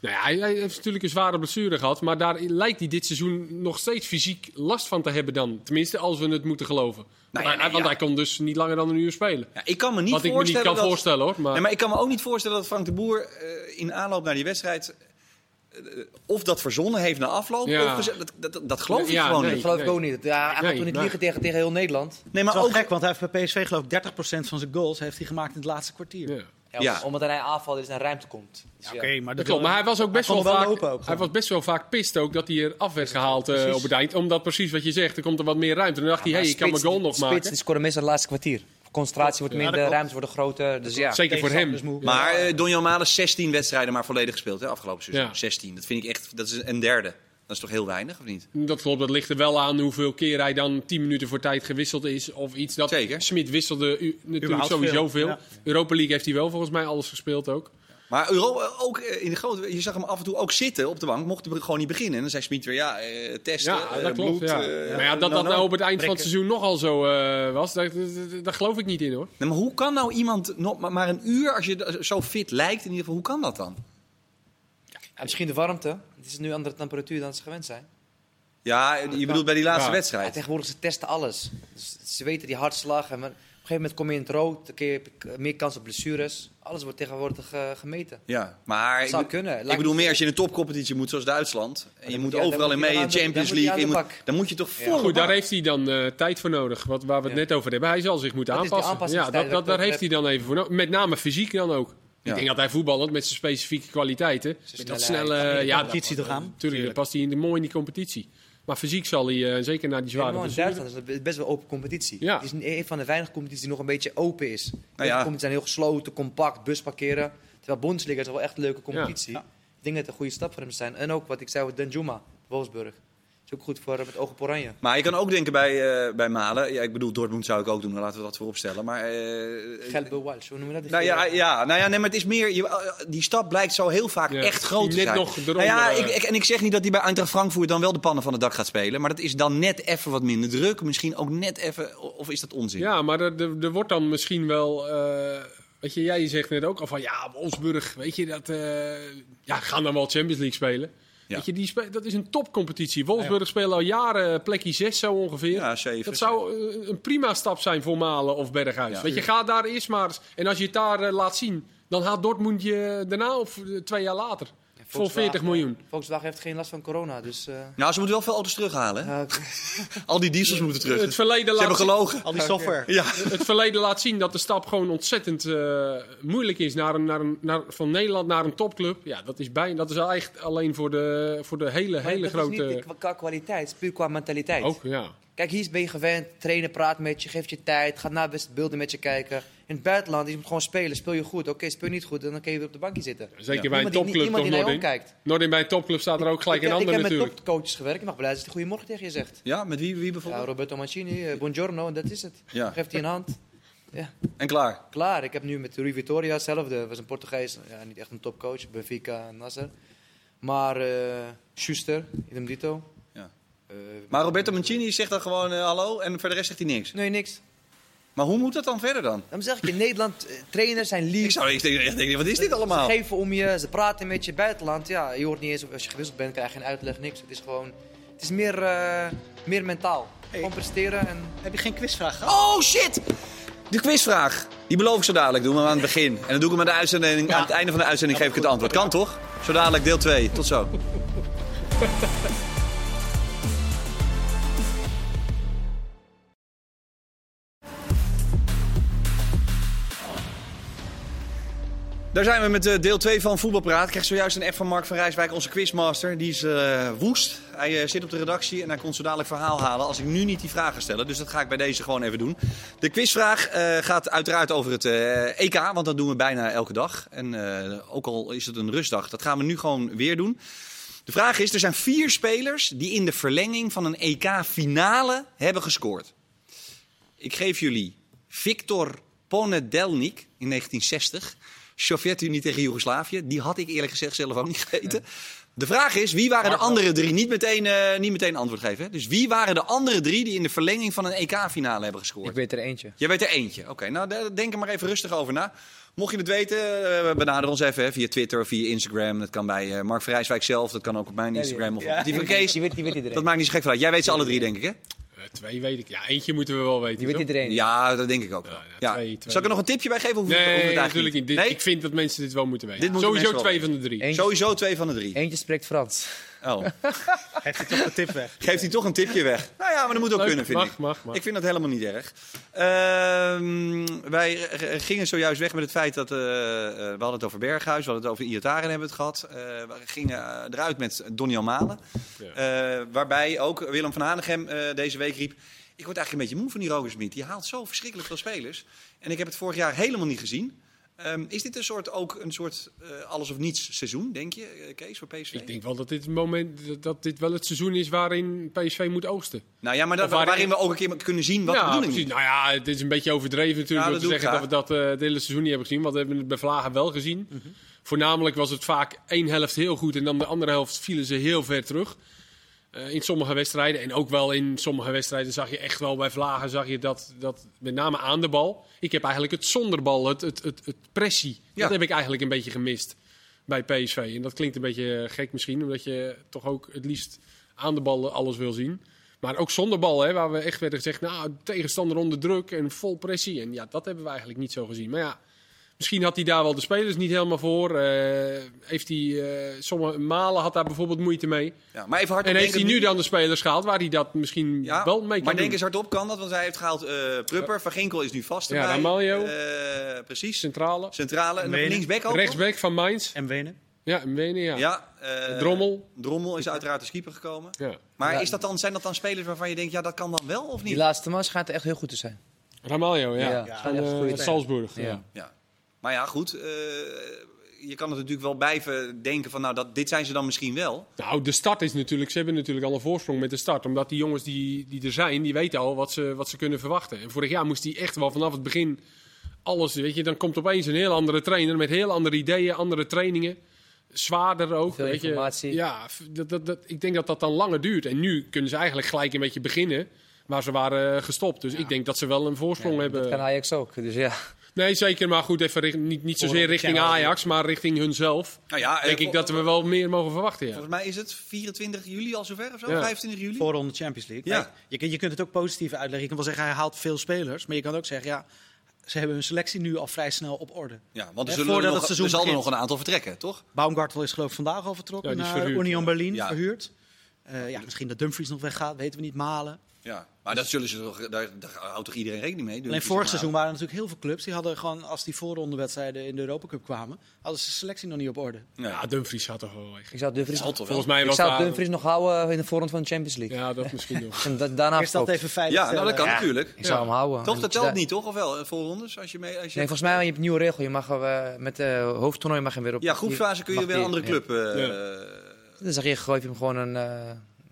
S2: Nou ja, hij, hij heeft natuurlijk een zware blessure gehad. Maar daar lijkt hij dit seizoen nog steeds fysiek last van te hebben dan. Tenminste, als we het moeten geloven.
S1: Nou ja,
S2: Maar-
S1: nee,
S2: want
S1: ja.
S2: hij kon dus niet langer dan een uur spelen.
S1: Ja, ik kan me niet
S2: Wat ik me
S1: voorstellen
S2: niet kan
S1: dat...
S2: voorstellen hoor. Maar,
S1: Nee, maar ik kan me ook niet voorstellen dat Frank de Boer eh, in aanloop naar die wedstrijd... eh, of dat verzonnen heeft na afloop.
S2: Ja.
S1: Of gezegd- dat, dat, dat, dat geloof
S2: Ja,
S1: ik gewoon
S2: nee.
S1: niet.
S3: dat geloof ik
S2: nee.
S3: ook niet. Ja, hij gaat
S2: Nee,
S3: toen niet
S2: maar-
S3: liegen tegen, tegen heel Nederland.
S1: Nee,
S4: Maar
S1: maar
S4: ook
S1: ook...
S4: gek, want hij heeft bij PSV geloof ik 30% van zijn goals heeft hij gemaakt in het laatste kwartier.
S2: Ja.
S3: Ja,
S1: Ja.
S3: Omdat hij aanval is en ruimte komt. Dus
S4: Ja,
S3: ja.
S4: Oké, maar
S2: Dat
S4: dat
S2: klopt, maar hij was ook best
S4: kon
S2: wel,
S4: er wel
S2: vaak,
S4: lopen ook gewoon.
S2: hij was best wel vaak pist ook dat hij er af werd gehaald eh,
S4: Precies.
S2: op het eind. Omdat precies wat je zegt, er komt er wat meer ruimte. Dan dacht hij, hé,
S3: Maar
S2: ik kan mijn
S3: spits-
S2: goal nog
S3: spits,
S2: maken.
S3: die scoren meestal het laatste kwartier. Concentratie wordt minder,
S4: dat klopt.
S3: ruimtes worden groter. Dus ja.
S2: Zeker voor hem.
S1: Maar eh Donjan Malen 16 wedstrijden maar volledig gespeeld hè, afgelopen seizoen.
S2: Ja.
S1: 16. Dat vind ik echt... Dat is een derde. Dat is toch heel weinig, of niet?
S2: Dat klopt, dat ligt er wel aan hoeveel keer hij dan 10 minuten voor tijd gewisseld is of iets. Dat
S1: Zeker.
S2: Smit wisselde u- natuurlijk
S4: Überhaupt
S2: sowieso
S4: veel,
S2: veel.
S4: ja.
S2: Europa League heeft hij wel volgens mij alles gespeeld ook.
S1: Maar Euro, eh, ook eh, in de grote... Je zag hem af en toe ook zitten op de bank. Mocht hij gewoon niet beginnen. En dan zei Smit weer, ja, eh, testen,
S2: Ja,
S1: eh,
S2: dat klopt.
S1: bloed,
S2: ja.
S1: eh,
S2: maar ja, dat
S4: nou,
S2: dat nou
S4: nou,
S2: op het eind van het
S4: prikken.
S2: seizoen nogal zo eh, was, daar, daar- daar geloof ik niet in hoor.
S1: Nee, maar hoe kan nou iemand nog maar, maar een uur, als je da- zo fit lijkt in ieder geval, hoe kan dat dan?
S3: Ja, misschien de warmte. Het is nu andere temperatuur dan ze gewend zijn.
S1: Ja, eh, je bedoelt bij die laatste
S2: Ja.
S3: Ja,
S1: wedstrijd.
S3: tegenwoordig, ze testen alles. Dus ze weten die hartslag. En maar op een gegeven moment kom je in het rood. Dan heb je meer kans op blessures. Alles wordt tegenwoordig eh, gemeten.
S1: Ja, maar
S3: Dat
S1: ik,
S3: zou
S1: be-
S3: kunnen. Laat
S1: ik bedoel
S3: me-
S1: meer als je in een topcompetitie moet, zoals Duitsland. En je
S3: dan
S1: moet
S3: moet je-
S1: overal in
S3: dan
S1: mee,
S3: moet je
S1: in
S3: aan de-
S1: Champions
S3: dan moet je
S1: League.
S3: aan
S1: je
S3: de
S1: moet-
S3: bak.
S1: Dan moet je toch
S2: Maar
S1: voor.
S2: Goed, daar heeft hij dan eh, tijd voor nodig, wat, waar we het
S3: Ja.
S2: net over hebben. Hij zal zich moeten
S3: Dat is die
S2: aanpassen. Ja,
S3: aanpassingstijd
S2: dat, dat,
S3: waar
S2: daar
S3: ik het
S2: heeft hij dan even voor nodig. Met name fysiek dan ook.
S1: Ja.
S2: Ik denk dat hij voetballend met zijn specifieke kwaliteiten,
S3: Zijn
S2: dat
S3: snelheid.
S2: snelle,
S4: de
S2: ja,
S4: competitie
S2: dat-
S4: toch aan?
S2: Tuurlijk, dan past hij in de, mooi in die competitie. Maar fysiek zal hij, eh, zeker na die zware
S3: Helemaal in
S2: blessure-
S3: Duitsland is het best wel open competitie.
S2: Ja.
S3: Het is een- een van de weinige competities die nog een beetje open is.
S1: Ah, ja.
S3: Nou competities zijn heel gesloten, compact, bus parkeren. Terwijl Bundesliga is wel echt een leuke competitie.
S4: Ja.
S3: Ik denk dat het een goede stap voor hem zijn. En ook wat ik zei over Danjuma, Wolfsburg. is ook goed voor eh, met oog op oranje.
S1: Maar je kan ook denken bij, eh, bij Malen. Ja, ik bedoel, Dortmund zou ik ook doen, maar laten we dat voorop stellen. Maar, eh,
S3: Gelbe Walsh, hoe noemen we dat?
S1: nou ja, ja, nou ja, nee, maar het is meer. je- eh, die stap blijkt zo heel vaak
S2: Ja.
S1: echt groot te
S2: Net
S1: zijn.
S2: nog eronder,
S1: nou ja,
S2: eh.
S1: ik, ik- en ik zeg niet dat hij bij Eintracht Frankfurt dan wel de pannen van het dak gaat spelen. Maar dat is dan net even wat minder druk. Misschien ook net even. Of is dat onzin?
S2: Ja, maar er, er, er wordt dan misschien wel. eh, weet je, jij zegt net ook al van ja, Wolfsburg, weet je dat. eh, ja, gaan dan wel Champions League spelen.
S1: Ja.
S2: Weet je, die spe- dat is een topcompetitie. Wolfsburg spelen al jaren plekje 6 zo ongeveer.
S1: Ja, zeven,
S2: dat zou eh, een prima stap zijn voor Malen of Berghuis.
S1: Ja.
S2: Weet je, ga daar eerst maar eens. En als je het daar eh, laat zien, dan haalt Dortmund je daarna of eh, twee jaar later. voor 40 miljoen.
S3: eh, Volkswagen heeft geen last van corona, dus... eh,
S1: Nou, ze moeten wel veel auto's terughalen. hè?
S3: ja, oké.
S1: Al die diesels moeten terug.
S2: Het
S1: Ze
S2: verleden,
S1: hebben
S2: laat, zien-
S1: gelogen.
S4: Al die software.
S1: Ja.
S2: het verleden laat zien dat de stap gewoon ontzettend eh, moeilijk is. Naar een, naar een, naar, van Nederland naar een topclub. Ja, dat is, bijna, dat is echt alleen voor de, voor de hele,
S3: Maar
S2: hele
S3: dat is niet
S2: grote.
S3: qua- qua kwaliteit, het is puur qua mentaliteit.
S2: Ook, ja.
S3: Kijk, hier ben je gewend. Trainen, praat met je, geeft je tijd. Gaat na best beelden met je kijken. In het buitenland, je moet gewoon spelen. Speel je goed. Oké, speel je niet goed. Dan kun je weer op de bankje zitten.
S2: Zeker
S1: Ja.
S2: bij een
S3: Iemand die-
S2: topclub
S3: iemand
S2: toch,
S3: die naar je
S2: Nordin?
S3: omkijkt.
S2: Nordin, bij een topclub staat er ook gelijk
S3: ik,
S2: een
S3: ik
S2: ander
S3: heb
S2: natuurlijk.
S3: met topcoaches gewerkt. Ik mag blij zijn dat hij goedemorgen tegen je zegt.
S1: ja, met wie, wie
S3: Ja,
S1: bijvoorbeeld?
S3: Roberto Mancini, eh, buongiorno, en dat is het.
S1: Ja.
S3: Geeft hij een hand. Ja,
S1: En klaar.
S3: klaar. Ik heb nu met Rui Vitoria hetzelfde. was een Portugees, ja, niet echt een topcoach. Benfica en Nasser. Maar eh Schuster, Idem Dito.
S1: Ja.
S3: Eh,
S1: Maar Roberto Mancini zegt dan gewoon eh, hallo en verder rest zegt hij niks.
S3: Nee, niks.
S1: Maar hoe moet dat dan verder dan?
S3: Dan zeg ik, in Nederland, eh, trainers zijn lief.
S1: Ik zou echt denken, echt denken, wat is dit allemaal?
S3: Ze geven om je, ze praten met je buitenland. Ja, je hoort niet eens, of- als je gewisseld bent, krijg je geen uitleg, niks. Het is gewoon, het is meer, eh, meer mentaal. Gewoon presteren en...
S4: Heb je geen quizvraag gehad?
S1: Oh shit! De quizvraag. Die beloof ik zo dadelijk. Doen we hem aan het begin. En dan doe ik hem aan, de uitzending, aan het einde van de uitzending. Geef ik het antwoord. Kan toch? Zo dadelijk deel 2. Tot zo. Daar zijn we met eh, deel 2 van Voetbalpraat. Ik kreeg zojuist een app van Mark van Rijswijk, onze quizmaster. Die is eh, woest. Hij eh, zit op de redactie en hij kon zo dadelijk verhaal halen als ik nu niet die vragen stel. Dus dat ga ik bij deze gewoon even doen. De quizvraag eh, gaat uiteraard over het eh, EK, want dat doen we bijna elke dag. En eh, ook al is het een rustdag, dat gaan we nu gewoon weer doen. De vraag is, er zijn vier spelers die in de verlenging van een EK-finale hebben gescoord. Ik geef jullie Victor Ponedelnik in 1960. Sovjet-Unie tegen Joegoslavië. Die had ik eerlijk gezegd zelf ook niet geweten. De vraag is, wie waren de andere drie? Niet meteen, eh, niet meteen antwoord geven. hè? Dus wie waren de andere drie die in de verlenging van een EK-finale hebben gescoord?
S3: weet er eentje.
S1: Jij weet er eentje. Oké, nou daar- denk er maar even rustig over na. Mocht je het weten, eh, benader ons even hè, via Twitter of via Instagram. Dat kan bij eh, Mark Vrijswijk zelf, dat kan ook op mijn Instagram of op die van Kees.
S3: Die weet, die weet iedereen.
S1: Dat maakt niet zo gek van uit. Jij weet ze alle drie, denk ik, hè?
S2: Eh, twee weet ik. Ja, eentje moeten we wel weten.
S3: Die weet
S2: toch?
S3: iedereen.
S1: Ja, dat denk ik ook.
S2: Ja,
S1: wel.
S2: ja,
S1: Ja.
S2: twee, twee.
S1: Zal ik er nog een tipje bij geven? Hoef ik- hoef ik het
S2: Nee,
S1: eigenlijk
S2: natuurlijk niet. Dit-
S1: Nee?
S2: Ik vind dat mensen dit wel moeten weten.
S1: Dit moeten
S2: Sowieso
S1: mensen wel
S2: twee van de drie.
S3: Eén-
S1: Sowieso twee van de drie.
S3: Eentje spreekt Frans.
S1: Oh.
S4: Heeft hij toch de tip weg?
S1: Geeft hij toch een tipje weg? Nou ja, maar dat moet ook
S2: Leuk,
S1: kunnen, vind
S2: mag,
S1: ik.
S2: mag, mag.
S1: Ik vind dat helemaal niet erg. Ehm, wij eh, gingen zojuist weg met het feit dat... eh, eh, we hadden het over Berghuis, we hadden het over Iataren hebben we het gehad. Eh, we gingen eh, eruit met Donny Malen. Eh, waarbij ook Willem van Hanegem eh, deze week riep... Ik word eigenlijk een beetje moe van die Roger Smit. Die haalt zo verschrikkelijk veel spelers. En ik heb het vorig jaar helemaal niet gezien. Ehm, is dit een soort, ook een soort eh, alles of niets seizoen, denk je, eh, Kees, voor PSV?
S2: Ik denk wel dat dit, het moment, dat- dat dit wel het seizoen is waarin PSV moet oogsten.
S1: Nou ja, maar dat,
S2: Of waarin-
S1: waarin, we ook een keer kunnen zien wat de
S2: ja,
S1: bedoeling
S2: precies.
S1: is.
S2: Nou ja, het is een beetje overdreven
S1: Ja,
S2: natuurlijk om
S1: dat
S2: te
S1: doe ik
S2: zeggen dat we dat eh, het hele seizoen niet hebben gezien. Want we hebben het bij Vlagen wel gezien.
S1: Mhm.
S2: Voornamelijk was het vaak één helft heel goed en dan de andere helft vielen ze heel ver terug. eh, in sommige wedstrijden en ook wel in sommige wedstrijden zag je echt wel bij Vlagen zag je dat, dat met name aan de bal. Ik heb eigenlijk het zonder bal, het, het, het, het pressie,
S1: Ja.
S2: dat heb ik eigenlijk een eh, beetje gemist bij PSV. En dat klinkt een beetje gek misschien, omdat je toch ook het liefst aan de bal eh, alles wil zien. Maar ook zonder bal, hè, waar we echt werden gezegd, nou, tegenstander onder druk en vol pressie. En ja, dat hebben we eigenlijk niet zo gezien. Maar ja, misschien had hij daar wel de spelers niet helemaal voor. Eh, heeft hij, eh, sommige malen had daar bijvoorbeeld moeite mee.
S1: Ja, maar even hard
S2: En heeft hij nu dan de spelers gehaald waar hij dat misschien
S1: Ja,
S2: wel mee kan
S1: maar
S2: doen.
S1: denk eens hardop, kan dat? Want hij heeft gehaald eh Prupper, Van Ginkel is nu vast
S2: Ja,
S1: erbij.
S2: Ramaljo.
S1: Eh, precies.
S2: Centrale,
S1: Centrale. En
S4: Wenen.
S1: linksback ook nog?
S2: rechtsback van Mainz.
S4: En Wenen.
S2: Ja, en Wenen, ja.
S1: Ja, eh,
S2: Drommel.
S1: Drommel is uiteraard de keeper gekomen.
S2: Ja.
S1: Maar
S3: Ja.
S1: is dat dan, zijn dat dan spelers waarvan je denkt, ja, dat kan dan wel of
S3: Die
S1: niet?
S3: laatste man schijnt er echt heel goed te zijn.
S2: Ramaljo,
S3: Ja,
S2: ja. Van
S3: ja,
S2: eh,
S3: echt goede
S2: Salzburg. Ja.
S3: Ja.
S1: Ja. Maar ja, goed. eh, je kan het natuurlijk wel blijven denken van, nou, dat, dit zijn ze dan misschien wel.
S2: Nou, de start is natuurlijk... Ze hebben natuurlijk al een voorsprong met de start. Omdat die jongens die, die er zijn, die weten al wat ze, wat ze kunnen verwachten. En vorig jaar moest hij echt wel vanaf het begin alles... Weet je, dan komt opeens een heel andere trainer met heel andere ideeën, andere trainingen. Zwaarder ook.
S3: Veel
S2: weet je.
S3: informatie.
S2: Ja, f- dat, dat, dat, ik denk dat dat dan langer duurt. En nu kunnen ze eigenlijk gelijk een beetje beginnen... Waar ze waren eh, gestopt. Dus ik denk dat ze wel een voorsprong hebben.
S3: Dat kan Ajax ook. Dus ja.
S2: Nee, zeker. Maar goed, even richt- niet, niet zozeer
S4: Vooral-
S2: richting
S4: Ja.
S2: Ajax, maar richting hunzelf.
S1: Nou ja, eh,
S2: Denk ik
S1: vol-
S2: dat we wel meer mogen verwachten, ja.
S1: Volgens mij is het 24 juli al zover of zo?
S2: Ja.
S1: 25 juli?
S4: Voorronde Champions League.
S1: Ja.
S4: Nee, Je, kunt- je kunt het ook positief uitleggen. Je kan wel zeggen, hij haalt veel spelers. Maar je kan ook zeggen, ja, ze hebben hun selectie nu al vrij snel op orde.
S1: Ja, want er, zullen
S4: Hè,
S1: er,
S4: voordat
S1: nog,
S4: het seizoen
S1: er zal er
S4: begint.
S1: nog een aantal vertrekken, toch?
S4: Baumgartel is geloof ik vandaag al vertrokken
S2: Ja, die is
S4: naar
S2: verhuurd,
S4: Union
S2: ja.
S4: Berlin,
S1: Ja.
S4: verhuurd. Eh, ja, misschien dat Dumfries nog weggaat, weten we niet, Malen.
S1: Ja. Maar dat zullen ze toch, daar, daar houdt toch iedereen rekening mee?
S4: Alleen vorig seizoen waren er natuurlijk heel veel clubs. Die hadden gewoon, als die voorrondewedstrijden in de Europa Cup kwamen, hadden ze de selectie nog niet op orde.
S2: Ja, Dumfries had toch wel weg.
S3: Ik zou Dumfries,
S1: Zal toch wel?
S2: Volgens mij
S3: ik
S2: was
S3: zou
S2: daar-
S3: Dumfries nog houden eh, in de voorrond van de Champions League.
S2: Ja, dat misschien nog.
S3: En da- daarna
S4: Eerst dat
S3: verkoopt.
S4: even veilig
S1: Ja, nou, dat kan
S4: stellen.
S1: natuurlijk.
S3: Ik zou
S2: Ja.
S3: hem houden.
S1: Toch,
S3: En
S1: dat
S3: je
S1: telt
S3: daar-
S1: niet, toch? Of wel? Eh, Voorrondes? Als je mee, als je...
S3: Nee, volgens mij heb je hebt een nieuwe regel. Je mag eh, met eh hoofdtoernooi mag je hem weer op.
S1: ja, groepsfase kun je
S3: mag
S1: weer een
S3: weer,
S1: andere
S3: ja.
S1: club. eh,
S3: Dan zeg je, gooi je hem gewoon een, eh,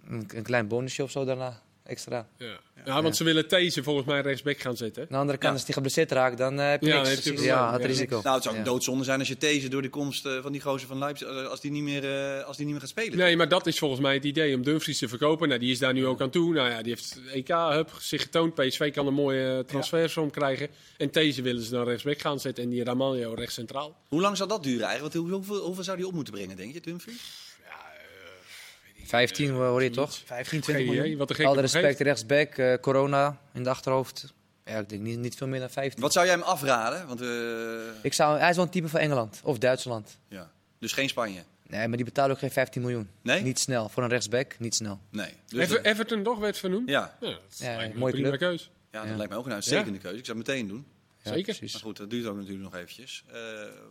S3: een, een klein bonusje of zo daarna. Extra.
S2: Ja. ja, want ze willen These volgens mij rechtsback gaan zetten.
S3: Aan de andere kant,
S1: Ja.
S3: als die geblesseerd raakt, dan eh, heb je
S2: Ja,
S3: niks.
S2: dan heb je
S3: Precies.
S2: probleem.
S3: ja, het
S2: Ja.
S3: risico.
S1: Nou, het zou
S3: Ja.
S1: een doodzonde zijn als je deze door de komst eh, van die gozer van Leipzig, eh, als die niet meer, eh, als die niet meer gaat spelen.
S2: Nee, maar dat is volgens mij het idee om Dumfries te verkopen. Nou, die is daar nu ook aan toe. Nou ja, die heeft EK hup, zich getoond. PSV kan een mooie eh, transfersom krijgen. En These willen ze dan rechtsback gaan zetten en die Ramaljo rechts centraal.
S1: Hoe lang zal dat duren eigenlijk? Want hoe- hoeveel, hoeveel zou die op moeten brengen, denk je, Dumfries?
S3: 15 eh, hoor je toch?
S4: 15, 20
S2: Geen
S4: miljoen.
S2: idee, wat de
S3: Alle
S2: gekke
S3: respect, rechtsback, eh, corona in de achterhoofd. Ja, ik denk niet, niet veel meer dan 15.
S1: Wat zou jij hem afraden? Want, eh,
S3: Ik zou, hij is wel een type van Engeland of Duitsland.
S1: ja. Dus geen Spanje?
S3: Nee, maar die betalen ook geen 15 miljoen.
S1: Nee?
S3: Niet snel. Voor een rechtsback, niet snel.
S1: Nee. Dus
S2: Ever-
S1: dat-
S2: Everton toch werd vernoemd?
S1: ja.
S2: Ja, dat
S3: eh, Ja,
S2: lijkt me
S3: mooie
S2: een prima
S3: club.
S2: keus.
S1: ja, dat
S3: Ja.
S1: lijkt mij ook een uitstekende keuze. Ik zou het meteen doen.
S3: Ja,
S2: Zeker.
S1: Maar
S3: precies.
S1: goed, dat duurt ook natuurlijk nog eventjes. Eh,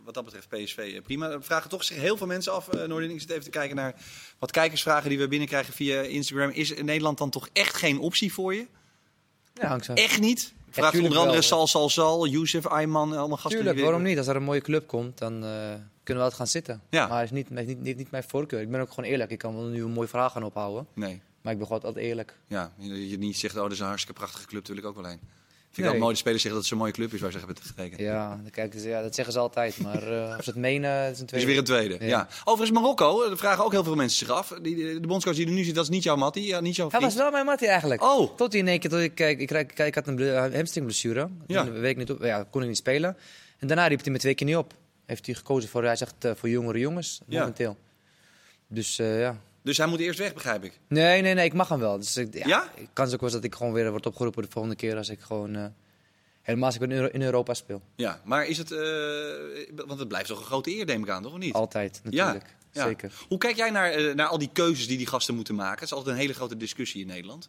S1: wat dat betreft PSV eh, prima. We vragen toch zich heel veel mensen af. eh Noordin, ik zit even te kijken naar wat kijkersvragen die we binnenkrijgen via Instagram. Is in Nederland dan toch echt geen optie voor je?
S3: Ja, dankzij.
S1: Echt niet? Vraagt
S3: tuurlijk
S1: onder andere
S3: Eh, wel.
S1: Sal, Sal, Sal, Youssef, Ayman, eh, allemaal gasten.
S3: Tuurlijk,
S1: die weer-
S3: waarom niet? Als er een mooie club komt, dan eh, kunnen we altijd gaan zitten.
S1: Ja.
S3: Maar het is niet, mijn- niet, niet, niet mijn voorkeur. Ik ben ook gewoon eerlijk. Ik kan wel nu een mooi verhaal gaan ophouden.
S1: Nee.
S3: Maar ik ben gewoon altijd eerlijk.
S1: Ja, je, je niet zegt, oh, dat is een hartstikke prachtige club, daar wil ik ook wel heen. Vind ik
S3: Nee.
S1: wel mooi, de spelers zeggen dat het zo'n mooie club is waar ze hebben getekend.
S3: Ja, dan kijken ze, ja dat zeggen ze altijd. Maar eh, of ze het menen, dat is een
S1: Er is
S3: tweede.
S1: weer een tweede. Ja.
S3: Ja.
S1: Overigens, Marokko, eh, daar vragen ook heel veel mensen zich af. Die, eh, de de bondscoach die er nu zit, dat is niet jouw Mattie, ja, niet jouw
S3: Hij was
S1: vriend.
S3: wel mijn mattie eigenlijk.
S1: Oh,
S3: Tot hij in één keer, tot ik, kijk, ik, kijk, ik had een ble- eh, hamstringblessure.
S1: Ja.
S3: Ja. Week niet op, ja, kon ik niet spelen. En daarna riep hij me twee keer niet op. Heeft hij gekozen voor, hij zegt, eh, voor jongere jongens
S1: Ja.
S3: momenteel. Dus eh, ja.
S1: dus hij moet eerst weg, begrijp ik.
S3: Nee, nee, nee, ik mag hem wel. Dus, ik- ja,
S1: Ja?
S3: Ik kan ook wel eens dat ik gewoon weer word opgeroepen de volgende keer als ik gewoon... eh, helemaal als ik in, Euro- in Europa speel.
S1: Ja, maar is het... eh, want het blijft toch een grote eer, neem ik aan, toch? Of niet?
S3: Altijd, natuurlijk.
S1: ja.
S3: Zeker.
S1: Hoe kijk jij naar, eh, naar al die keuzes die die gasten moeten maken? Het is altijd een hele grote discussie in Nederland.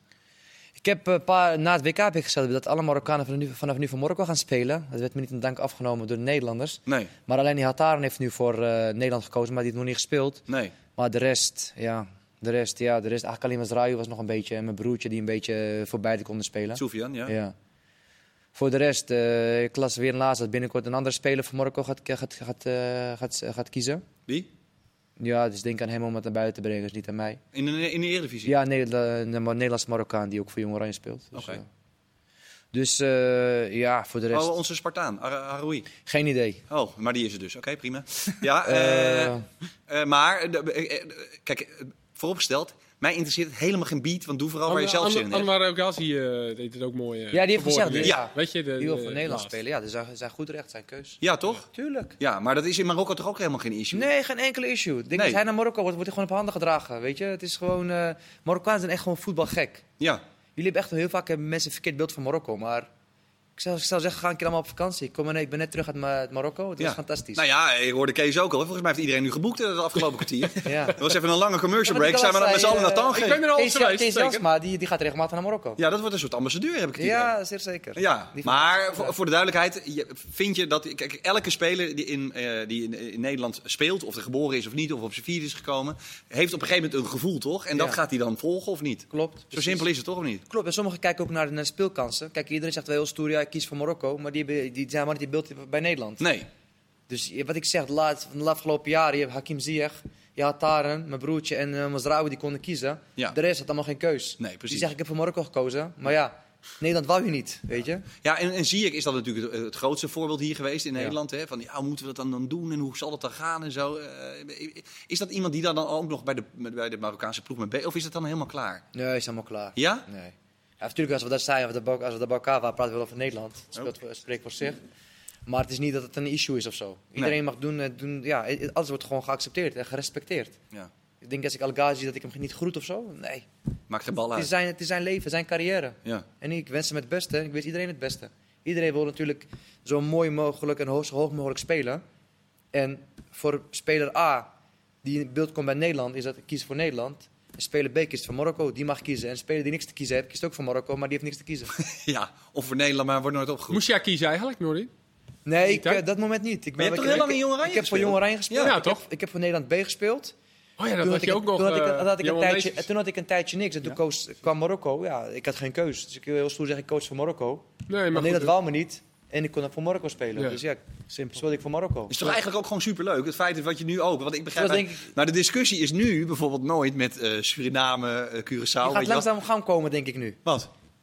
S3: Ik heb een paar, na het WK heb ik gezegd dat alle Marokkanen vanaf nu, vanaf nu voor Marokko gaan spelen. Dat werd me niet in dank afgenomen door de Nederlanders.
S1: Nee,
S3: Maar alleen die Hataren heeft nu voor eh, Nederland gekozen, maar die heeft nog niet gespeeld.
S1: nee.
S3: Maar de rest, ja. De rest, ja. De rest, eigenlijk alleen Mazraoui was nog een beetje. En mijn broertje die een beetje eh, voor beide konden spelen.
S1: Soufian, ja.
S3: Ja. Voor de rest, eh ik las weer een laatst dat binnenkort een andere speler voor Marokko gaat, gaat, gaat, eh, gaat, gaat kiezen.
S1: Wie?
S3: Ja, dus denk aan hem om het naar buiten te brengen, dus niet aan mij.
S1: In de, in de Eredivisie?
S3: Ja, nee, de, de Nederlandse Marokkaan die ook voor Jong Oranje speelt. Dus,
S1: Oké.
S3: eh, dus eh, ja, voor de rest,
S1: Oh, onze Spartaan, Ar- Haroui.
S3: geen idee.
S1: Oh, maar die is er dus. Oké, prima. Ja, eh,
S3: Eh,
S1: eh, maar, de- eh, eh, kijk, eh, vooropgesteld, Mij interesseert het helemaal geen beat, want doe vooral waar je zelf zin in
S2: Anwar
S1: hebt.
S2: Anwar Elgazi eh, deed het ook mooi. eh,
S3: Ja, die heeft
S2: verwoorden.
S3: gezegd,
S2: Dus,
S3: ja.
S2: Weet je, de,
S3: Die wil
S2: de-
S3: voor Nederland
S2: laatst.
S3: spelen. Ja, dus zij zijn goed recht, zijn keus.
S1: Ja, toch?
S3: Tuurlijk.
S1: Ja, maar dat is in Marokko toch ook helemaal geen issue?
S3: Nee, geen enkele issue. Ik Denk
S1: Nee.
S3: Als hij naar Marokko wordt, wordt hij gewoon op handen gedragen. Weet je, het is gewoon. eh Marokkanen zijn echt gewoon voetbalgek.
S1: Ja.
S3: Jullie hebben echt heel vaak hebben mensen een verkeerd beeld van Marokko. Maar ik zou, ik zou zeggen, ga een keer allemaal op vakantie. Ik, kom, er- ik ben net terug uit Ma- uit Marokko. Het
S1: Ja.
S3: was fantastisch.
S1: Nou ja, ik hoorde Kees ook al. Volgens mij heeft iedereen nu geboekt eh, het afgelopen kwartier.
S3: ja.
S1: Dat was even een lange commercial
S3: Ja, maar
S1: break. Zijn
S3: die
S1: we dan
S3: gast
S1: met z'n allen
S3: zei,
S1: naar
S3: eh,
S2: Ik
S1: Tangier?
S2: ben er al
S3: Kees,
S2: eens geweest.
S3: Kees
S2: zeker.
S3: Jasma, die, die gaat regelmatig naar Marokko.
S1: Ja, dat wordt een soort ambassadeur, heb ik het idee.
S3: Ja, zeer zeker.
S1: Ja,
S3: Die
S1: maar voor, voor de duidelijkheid, je- vind je dat kijk, elke speler die, in, eh, die in, in Nederland speelt, of er geboren is of niet, of op zijn vierde is gekomen, heeft op een gegeven moment een gevoel, toch? En dat
S3: Ja.
S1: gaat hij dan volgen of niet?
S3: Klopt.
S1: Zo
S3: precies.
S1: simpel is het toch of niet?
S3: Klopt, en sommigen kijken ook naar de, naar de speelkansen. Kijk, iedereen zegt wel heel stoer, ja, ik kies voor Marokko. Maar die, hebben- die zijn helemaal niet in beeld bij Nederland.
S1: Nee.
S3: Dus je- wat ik zeg, de laatste, van de afgelopen jaren, je hebt Hakim Ziyech, je had Taren, mijn broertje en eh Mazraoui, die konden kiezen.
S1: Ja.
S3: De rest had allemaal geen keus.
S1: Nee, precies.
S3: Die zeggen, ik heb voor Marokko gekozen. Maar ja, Nederland wou je niet, weet je.
S1: Ja, en, en zie ik, is dat natuurlijk het, het grootste voorbeeld hier geweest in
S3: Ja.
S1: Nederland. Hè? Van, ja, hoe moeten we dat dan, dan doen en hoe zal dat dan gaan en zo. Eh, is dat iemand die daar dan ook nog bij de, bij de Marokkaanse ploeg mee bezig Of is dat dan helemaal klaar?
S3: Nee, is helemaal klaar.
S1: Ja?
S3: Nee. Ja, natuurlijk, als we daar zijn, als we daar- als we daar bij elkaar waren, praten we wel over Nederland. Het
S1: Oh.
S3: speelt, voor- spreekt voor zich. Maar het is niet dat het een issue is of zo. Iedereen mag doen, eh, doen ja, i- alles wordt gewoon geaccepteerd en gerespecteerd.
S1: Ja.
S3: Ik denk als ik Al-Ghazi dat ik hem niet groet of zo. Nee,
S1: Maakt geen bal
S3: het is
S1: uit.
S3: zijn, het is zijn leven, zijn carrière.
S1: Ja.
S3: En ik wens hem het beste. en Ik wens iedereen het beste. Iedereen wil natuurlijk zo mooi mogelijk en hoog, zo hoog mogelijk spelen. En voor speler A, die in beeld komt bij Nederland, is dat kies voor Nederland. En speler B kiest voor Marokko, die mag kiezen. En speler die niks te kiezen heeft, kiest ook voor Marokko, maar die heeft niks te kiezen.
S1: ja, of voor Nederland, maar wordt nooit opgeroepen.
S2: Moest jij kiezen eigenlijk, Norin?
S3: Nee,
S2: Niet,
S3: ik,
S2: hè?
S3: eh, dat moment niet. Ik
S1: Maar je hebt
S3: ik-
S1: toch heel
S3: ik-
S1: lang in Jong Oranje
S3: Ik heb voor
S1: gespeeld?
S3: Jong Oranje gespeeld.
S2: Ja,
S3: Ik heb-
S2: toch?
S3: Ik heb voor Nederland B gespeeld.
S2: Oh ja, dat
S3: Toen
S2: had
S3: ik-
S2: je ook nog.
S3: toen had ik,
S2: eh,
S3: toen had ik een
S2: Johan
S3: tijdje,
S2: Neesjes.
S3: toen had ik een tijdje niks. En toen koos, kwam Marokko. Ja, ik had geen keus. Dus ik wil heel stoer zeggen, ik coach voor Marokko.
S2: Nee,
S3: Maar
S2: maar
S3: Nederland
S2: goed, eh,
S3: wou me niet. En ik kon dan voor Marokko spelen.
S2: Ja.
S3: Dus ja, simpel. speelde ik voor Marokko.
S1: Is toch eigenlijk ook gewoon superleuk? Het feit is wat je nu ook. Want ik begrijp.
S3: Dat
S1: uit-
S3: Dus denk
S1: Nou, de discussie is nu bijvoorbeeld nooit met eh, Suriname, eh,
S3: Je
S1: Curaçao.
S3: gaat
S1: weet je wat?
S3: langzaam gaan komen, denk ik nu.
S1: Wat?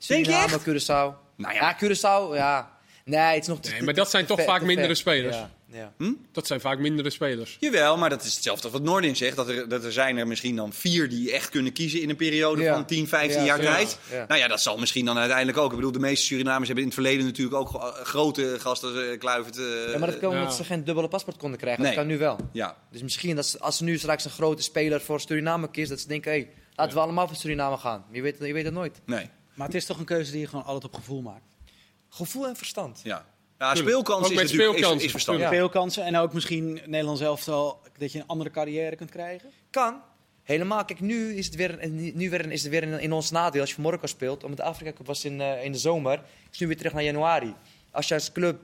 S1: Denk je
S3: Suriname,
S1: echt?
S3: Curaçao.
S1: Nou ja.
S3: ja. Curaçao, ja. Nee, het is nog te
S2: Nee, maar dat zijn toch
S3: te ver-
S2: vaak
S3: te
S2: mindere
S3: ver.
S2: spelers.
S3: Ja, ja.
S2: dat zijn vaak mindere spelers.
S1: Jawel, maar dat is hetzelfde als wat Noordin zegt. Dat er, dat er zijn er misschien dan vier die echt kunnen kiezen in een periode
S3: Ja.
S1: van 10, 15
S3: Ja,
S1: jaar
S3: ja.
S1: tijd.
S3: Ja.
S1: Nou ja, dat zal misschien dan uiteindelijk ook. Ik bedoel, de meeste Surinamers hebben in het verleden natuurlijk ook eh, grote gasten, eh Kluivert. eh,
S3: Ja, maar dat kwam
S2: Ja.
S3: omdat ze geen dubbele paspoort konden krijgen.
S1: Nee.
S3: Dat kan nu wel.
S1: ja.
S3: Dus misschien dat ze, als ze nu straks een grote speler voor Suriname kiest, dat ze denken, hé, hey, laten we allemaal voor Suriname gaan. Je weet, je weet het nooit.
S1: nee.
S4: Maar het is toch een keuze die je gewoon altijd op gevoel maakt.
S3: Gevoel en verstand.
S1: Ja. Ja,
S2: Tuurlijk.
S1: speelkans
S2: Ook
S1: is
S2: met
S1: natuurlijk is- is,
S2: speelkansen.
S1: verstandig.
S3: Ja.
S4: Speelkansen en ook misschien Nederland zelf al dat je een andere carrière kunt krijgen.
S3: Kan. Helemaal. Kijk, nu is het weer, een- nu weer, een- is het weer in, in ons nadeel als je voor Marokko speelt. Omdat de Afrika Cup was in, eh, in de zomer. is nu weer terug naar januari. Als je als club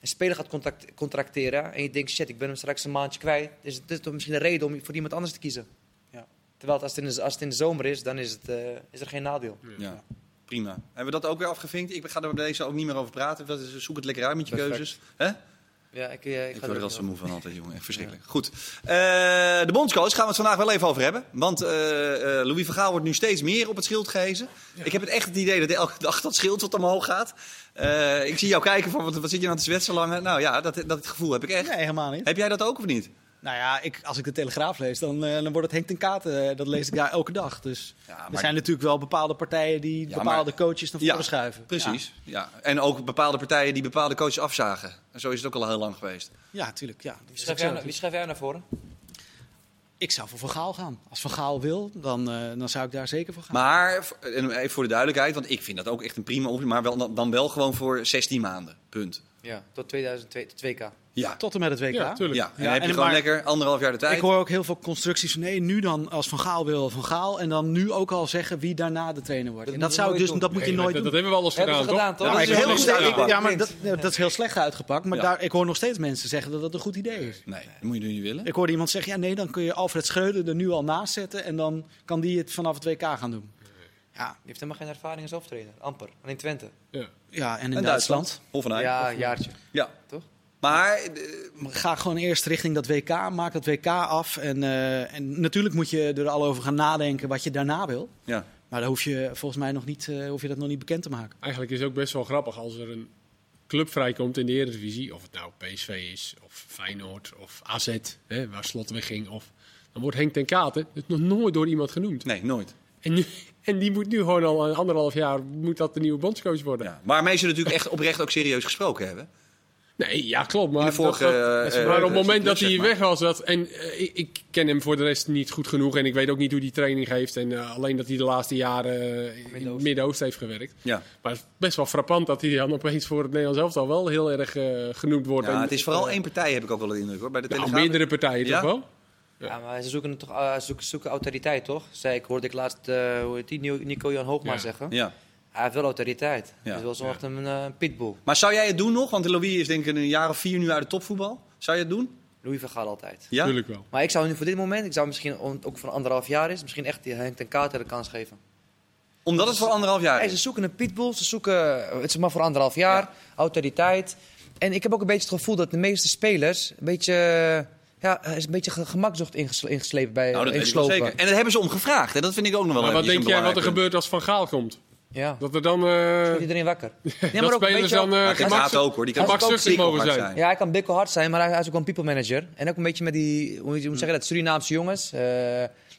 S3: een speler gaat contact, contracteren en je denkt, shit, ik ben hem straks een maandje kwijt. Is het is toch misschien een reden om voor iemand anders te kiezen.
S4: Ja.
S3: Terwijl het, als, het in de, als het in de zomer is, dan is, het, eh, is er geen nadeel.
S1: Ja. Prima. Hebben we dat ook weer afgevinkt? Ik ga er bij deze ook niet meer over praten. Dat is- Zoek het lekker uit met je
S3: Perfect.
S1: keuzes. hè?
S3: Ja, ik, eh,
S1: Ik
S3: ik, ga
S1: word er
S3: er
S1: al zo moe van altijd, jongen. Echt verschrikkelijk. Goed. Eh, de bondscoach gaan we het vandaag wel even over hebben. Want eh, eh, Louis van Gaal wordt nu steeds meer op het schild gehezen. Ik heb het echt het idee dat elke dag dat schild wat omhoog gaat. Eh, ik zie jou kijken van, wat, wat zit je nou te zwetsen lange? Nou ja, dat, dat gevoel heb ik echt.
S4: Nee, helemaal niet.
S1: Heb jij dat ook of niet?
S4: Nou ja, ik, als ik de Telegraaf lees, dan, eh, dan wordt het Henk ten Katen. eh, dat lees ik daar elke dag. Dus
S1: Ja, Ah, maar-
S4: er zijn natuurlijk wel bepaalde partijen die
S1: Ja,
S4: bepaalde
S1: maar-
S4: coaches naar voren schuiven.
S1: precies. Ja. En ook bepaalde partijen die bepaalde coaches afzagen. En zo is het ook al heel lang geweest.
S4: Ja, ja tuurlijk. Ja. Dat is
S3: Wie schrijf
S4: ook zo
S3: jij- nou- Wie
S4: natuurlijk.
S3: schrijf jij naar voren?
S4: Ik zou voor Van Gaal gaan. Als Van Gaal wil, dan, eh, dan zou ik daar zeker voor gaan.
S1: Maar, v- en even voor de duidelijkheid, want ik vind dat ook echt een prima optie. Maar wel, dan wel gewoon voor 16 maanden. Punt.
S3: Ja, tot 2002, 2K.
S1: Ja.
S4: Tot en met het WK.
S2: Ja, tuurlijk.
S1: Ja, en
S4: Ja,
S1: dan heb je
S4: en
S1: gewoon
S4: maar-
S1: lekker anderhalf jaar de tijd.
S4: Ik hoor ook heel veel constructies van nee, nu dan als Van Gaal wil, Van Gaal. En dan nu ook al zeggen wie daarna de trainer wordt.
S3: Dat
S4: En
S3: moet
S4: dat,
S3: je
S4: zou ik
S3: nooit
S4: dus,
S3: doen.
S4: dat moet je
S2: Nee,
S4: nooit
S2: dat, dat
S4: doen.
S2: hebben we al eens
S3: Hebben
S2: gedaan,
S3: ze gedaan, toch?
S1: Ja, maar
S3: Dat
S1: ik
S3: is
S1: heb
S3: heel
S1: nog
S3: slecht.
S1: steeds-
S4: Ja, maar dat, dat is heel slecht uitgepakt. Maar
S1: Ja.
S4: daar, ik hoor nog steeds mensen zeggen dat dat een goed idee is.
S1: Nee, dat moet je nu niet willen.
S4: Ik hoorde iemand zeggen, ja nee, dan kun je Alfred Schreuder er nu al naast zetten. En dan kan die het vanaf het WK gaan doen. Ja,
S3: Die heeft helemaal geen ervaring als hoofdtrainer. Amper. Alleen Twente.
S2: Ja.
S4: ja en in
S1: En
S4: Duitsland.
S1: Of een eigen.
S3: Ja, een jaartje.
S1: Ja.
S3: Toch?
S1: Maar, eh,
S4: Ga gewoon eerst richting dat WK, maak dat WK af. En, eh, en natuurlijk moet je er al over gaan nadenken wat je daarna wil.
S1: ja.
S4: Maar daar hoef je volgens mij nog niet, eh, hoef je dat nog niet bekend te maken.
S2: Eigenlijk is het ook best wel grappig als er een club vrijkomt in de Eredivisie. Of het nou PSV is, of Feyenoord, of AZ, hè, waar Slot wegging. Of Dan wordt Henk ten Katen dus nog nooit door iemand genoemd.
S1: Nee, nooit.
S2: En, nu, en die moet nu gewoon al een anderhalf jaar moet dat de nieuwe bondscoach worden.
S1: Ja. Waarmee ze natuurlijk echt oprecht ook serieus gesproken hebben.
S2: Nee, ja, klopt. Maar,
S1: In de vorige,
S2: dat- dat-
S1: eh, eh,
S2: maar op het
S1: club,
S2: moment dat
S1: zeg
S2: hij
S1: maar.
S2: weg was, dat, en eh, ik, ik ken hem voor de rest niet goed genoeg en ik weet ook niet hoe hij training geeft. En eh, alleen dat hij de laatste jaren eh, in het Midden-Oosten heeft gewerkt.
S1: Ja.
S2: Maar het is best wel frappant dat hij dan opeens voor het Nederlands elftal wel heel erg eh, genoemd wordt.
S1: Ja,
S2: En-
S1: het is vooral
S2: eh,
S1: één partij, heb ik ook wel de indruk hoor. Bij de
S2: nou,
S1: Telegraaf.
S2: meerdere partijen
S1: Ja?
S2: toch wel?
S3: Ja, maar ze zoeken, het toch, eh, ze zoeken, zoeken autoriteit, toch? Zei ik, hoorde ik laatst eh, hoe heet die, Nico- Nico Jan Hoogma
S2: Ja.
S3: zeggen.
S1: Ja.
S3: Hij heeft wel autoriteit.
S1: Ja.
S3: Hij is wel zo echt een eh, pitbull.
S1: Maar zou jij het doen nog? Want Louis is denk ik een jaar of vier nu uit de topvoetbal. Zou je het doen?
S3: Louis van Gaal altijd.
S1: Ja?
S2: Tuurlijk wel.
S3: Maar ik zou nu voor dit moment, ik zou misschien om- ook voor anderhalf jaar is, misschien echt die Henk ten Kater de kans geven.
S1: Omdat het voor anderhalf jaar
S3: Hey,
S1: is.
S3: ze zoeken een pitbull, ze zoeken, eh, het is maar voor anderhalf jaar, autoriteit. En ik heb ook een beetje het gevoel dat de meeste spelers een beetje, eh, ja, er is een beetje ge- gemakzucht ingesle- ingeslepen bij
S1: Nou, dat weet ik wel
S3: ingeslopen.
S1: zeker. En dat hebben ze om gevraagd. En dat vind ik ook nog wel
S2: Maar wat
S1: eventjes
S2: denk
S1: een
S2: jij wat er
S1: belangrijk punt.
S2: gebeurt als Van Gaal komt?
S3: Ja,
S2: Dat er dan... eh,
S3: wordt iedereen wakker. Nee,
S2: dat
S3: ook een
S2: spelers
S3: beetje-
S2: dan eh,
S1: Maar Ten Katen
S2: gemakzu-
S1: ook, hoor. Die kan
S2: gemakzuchtig
S1: ook
S2: mogen
S1: psychopaat
S2: zijn.
S1: zijn.
S3: Ja, hij kan bikkelhard zijn, maar hij, hij is ook wel een people manager. En ook een beetje met die, hoe,
S1: Hm.
S3: hoe zeg je dat, Surinaamse jongens. eh,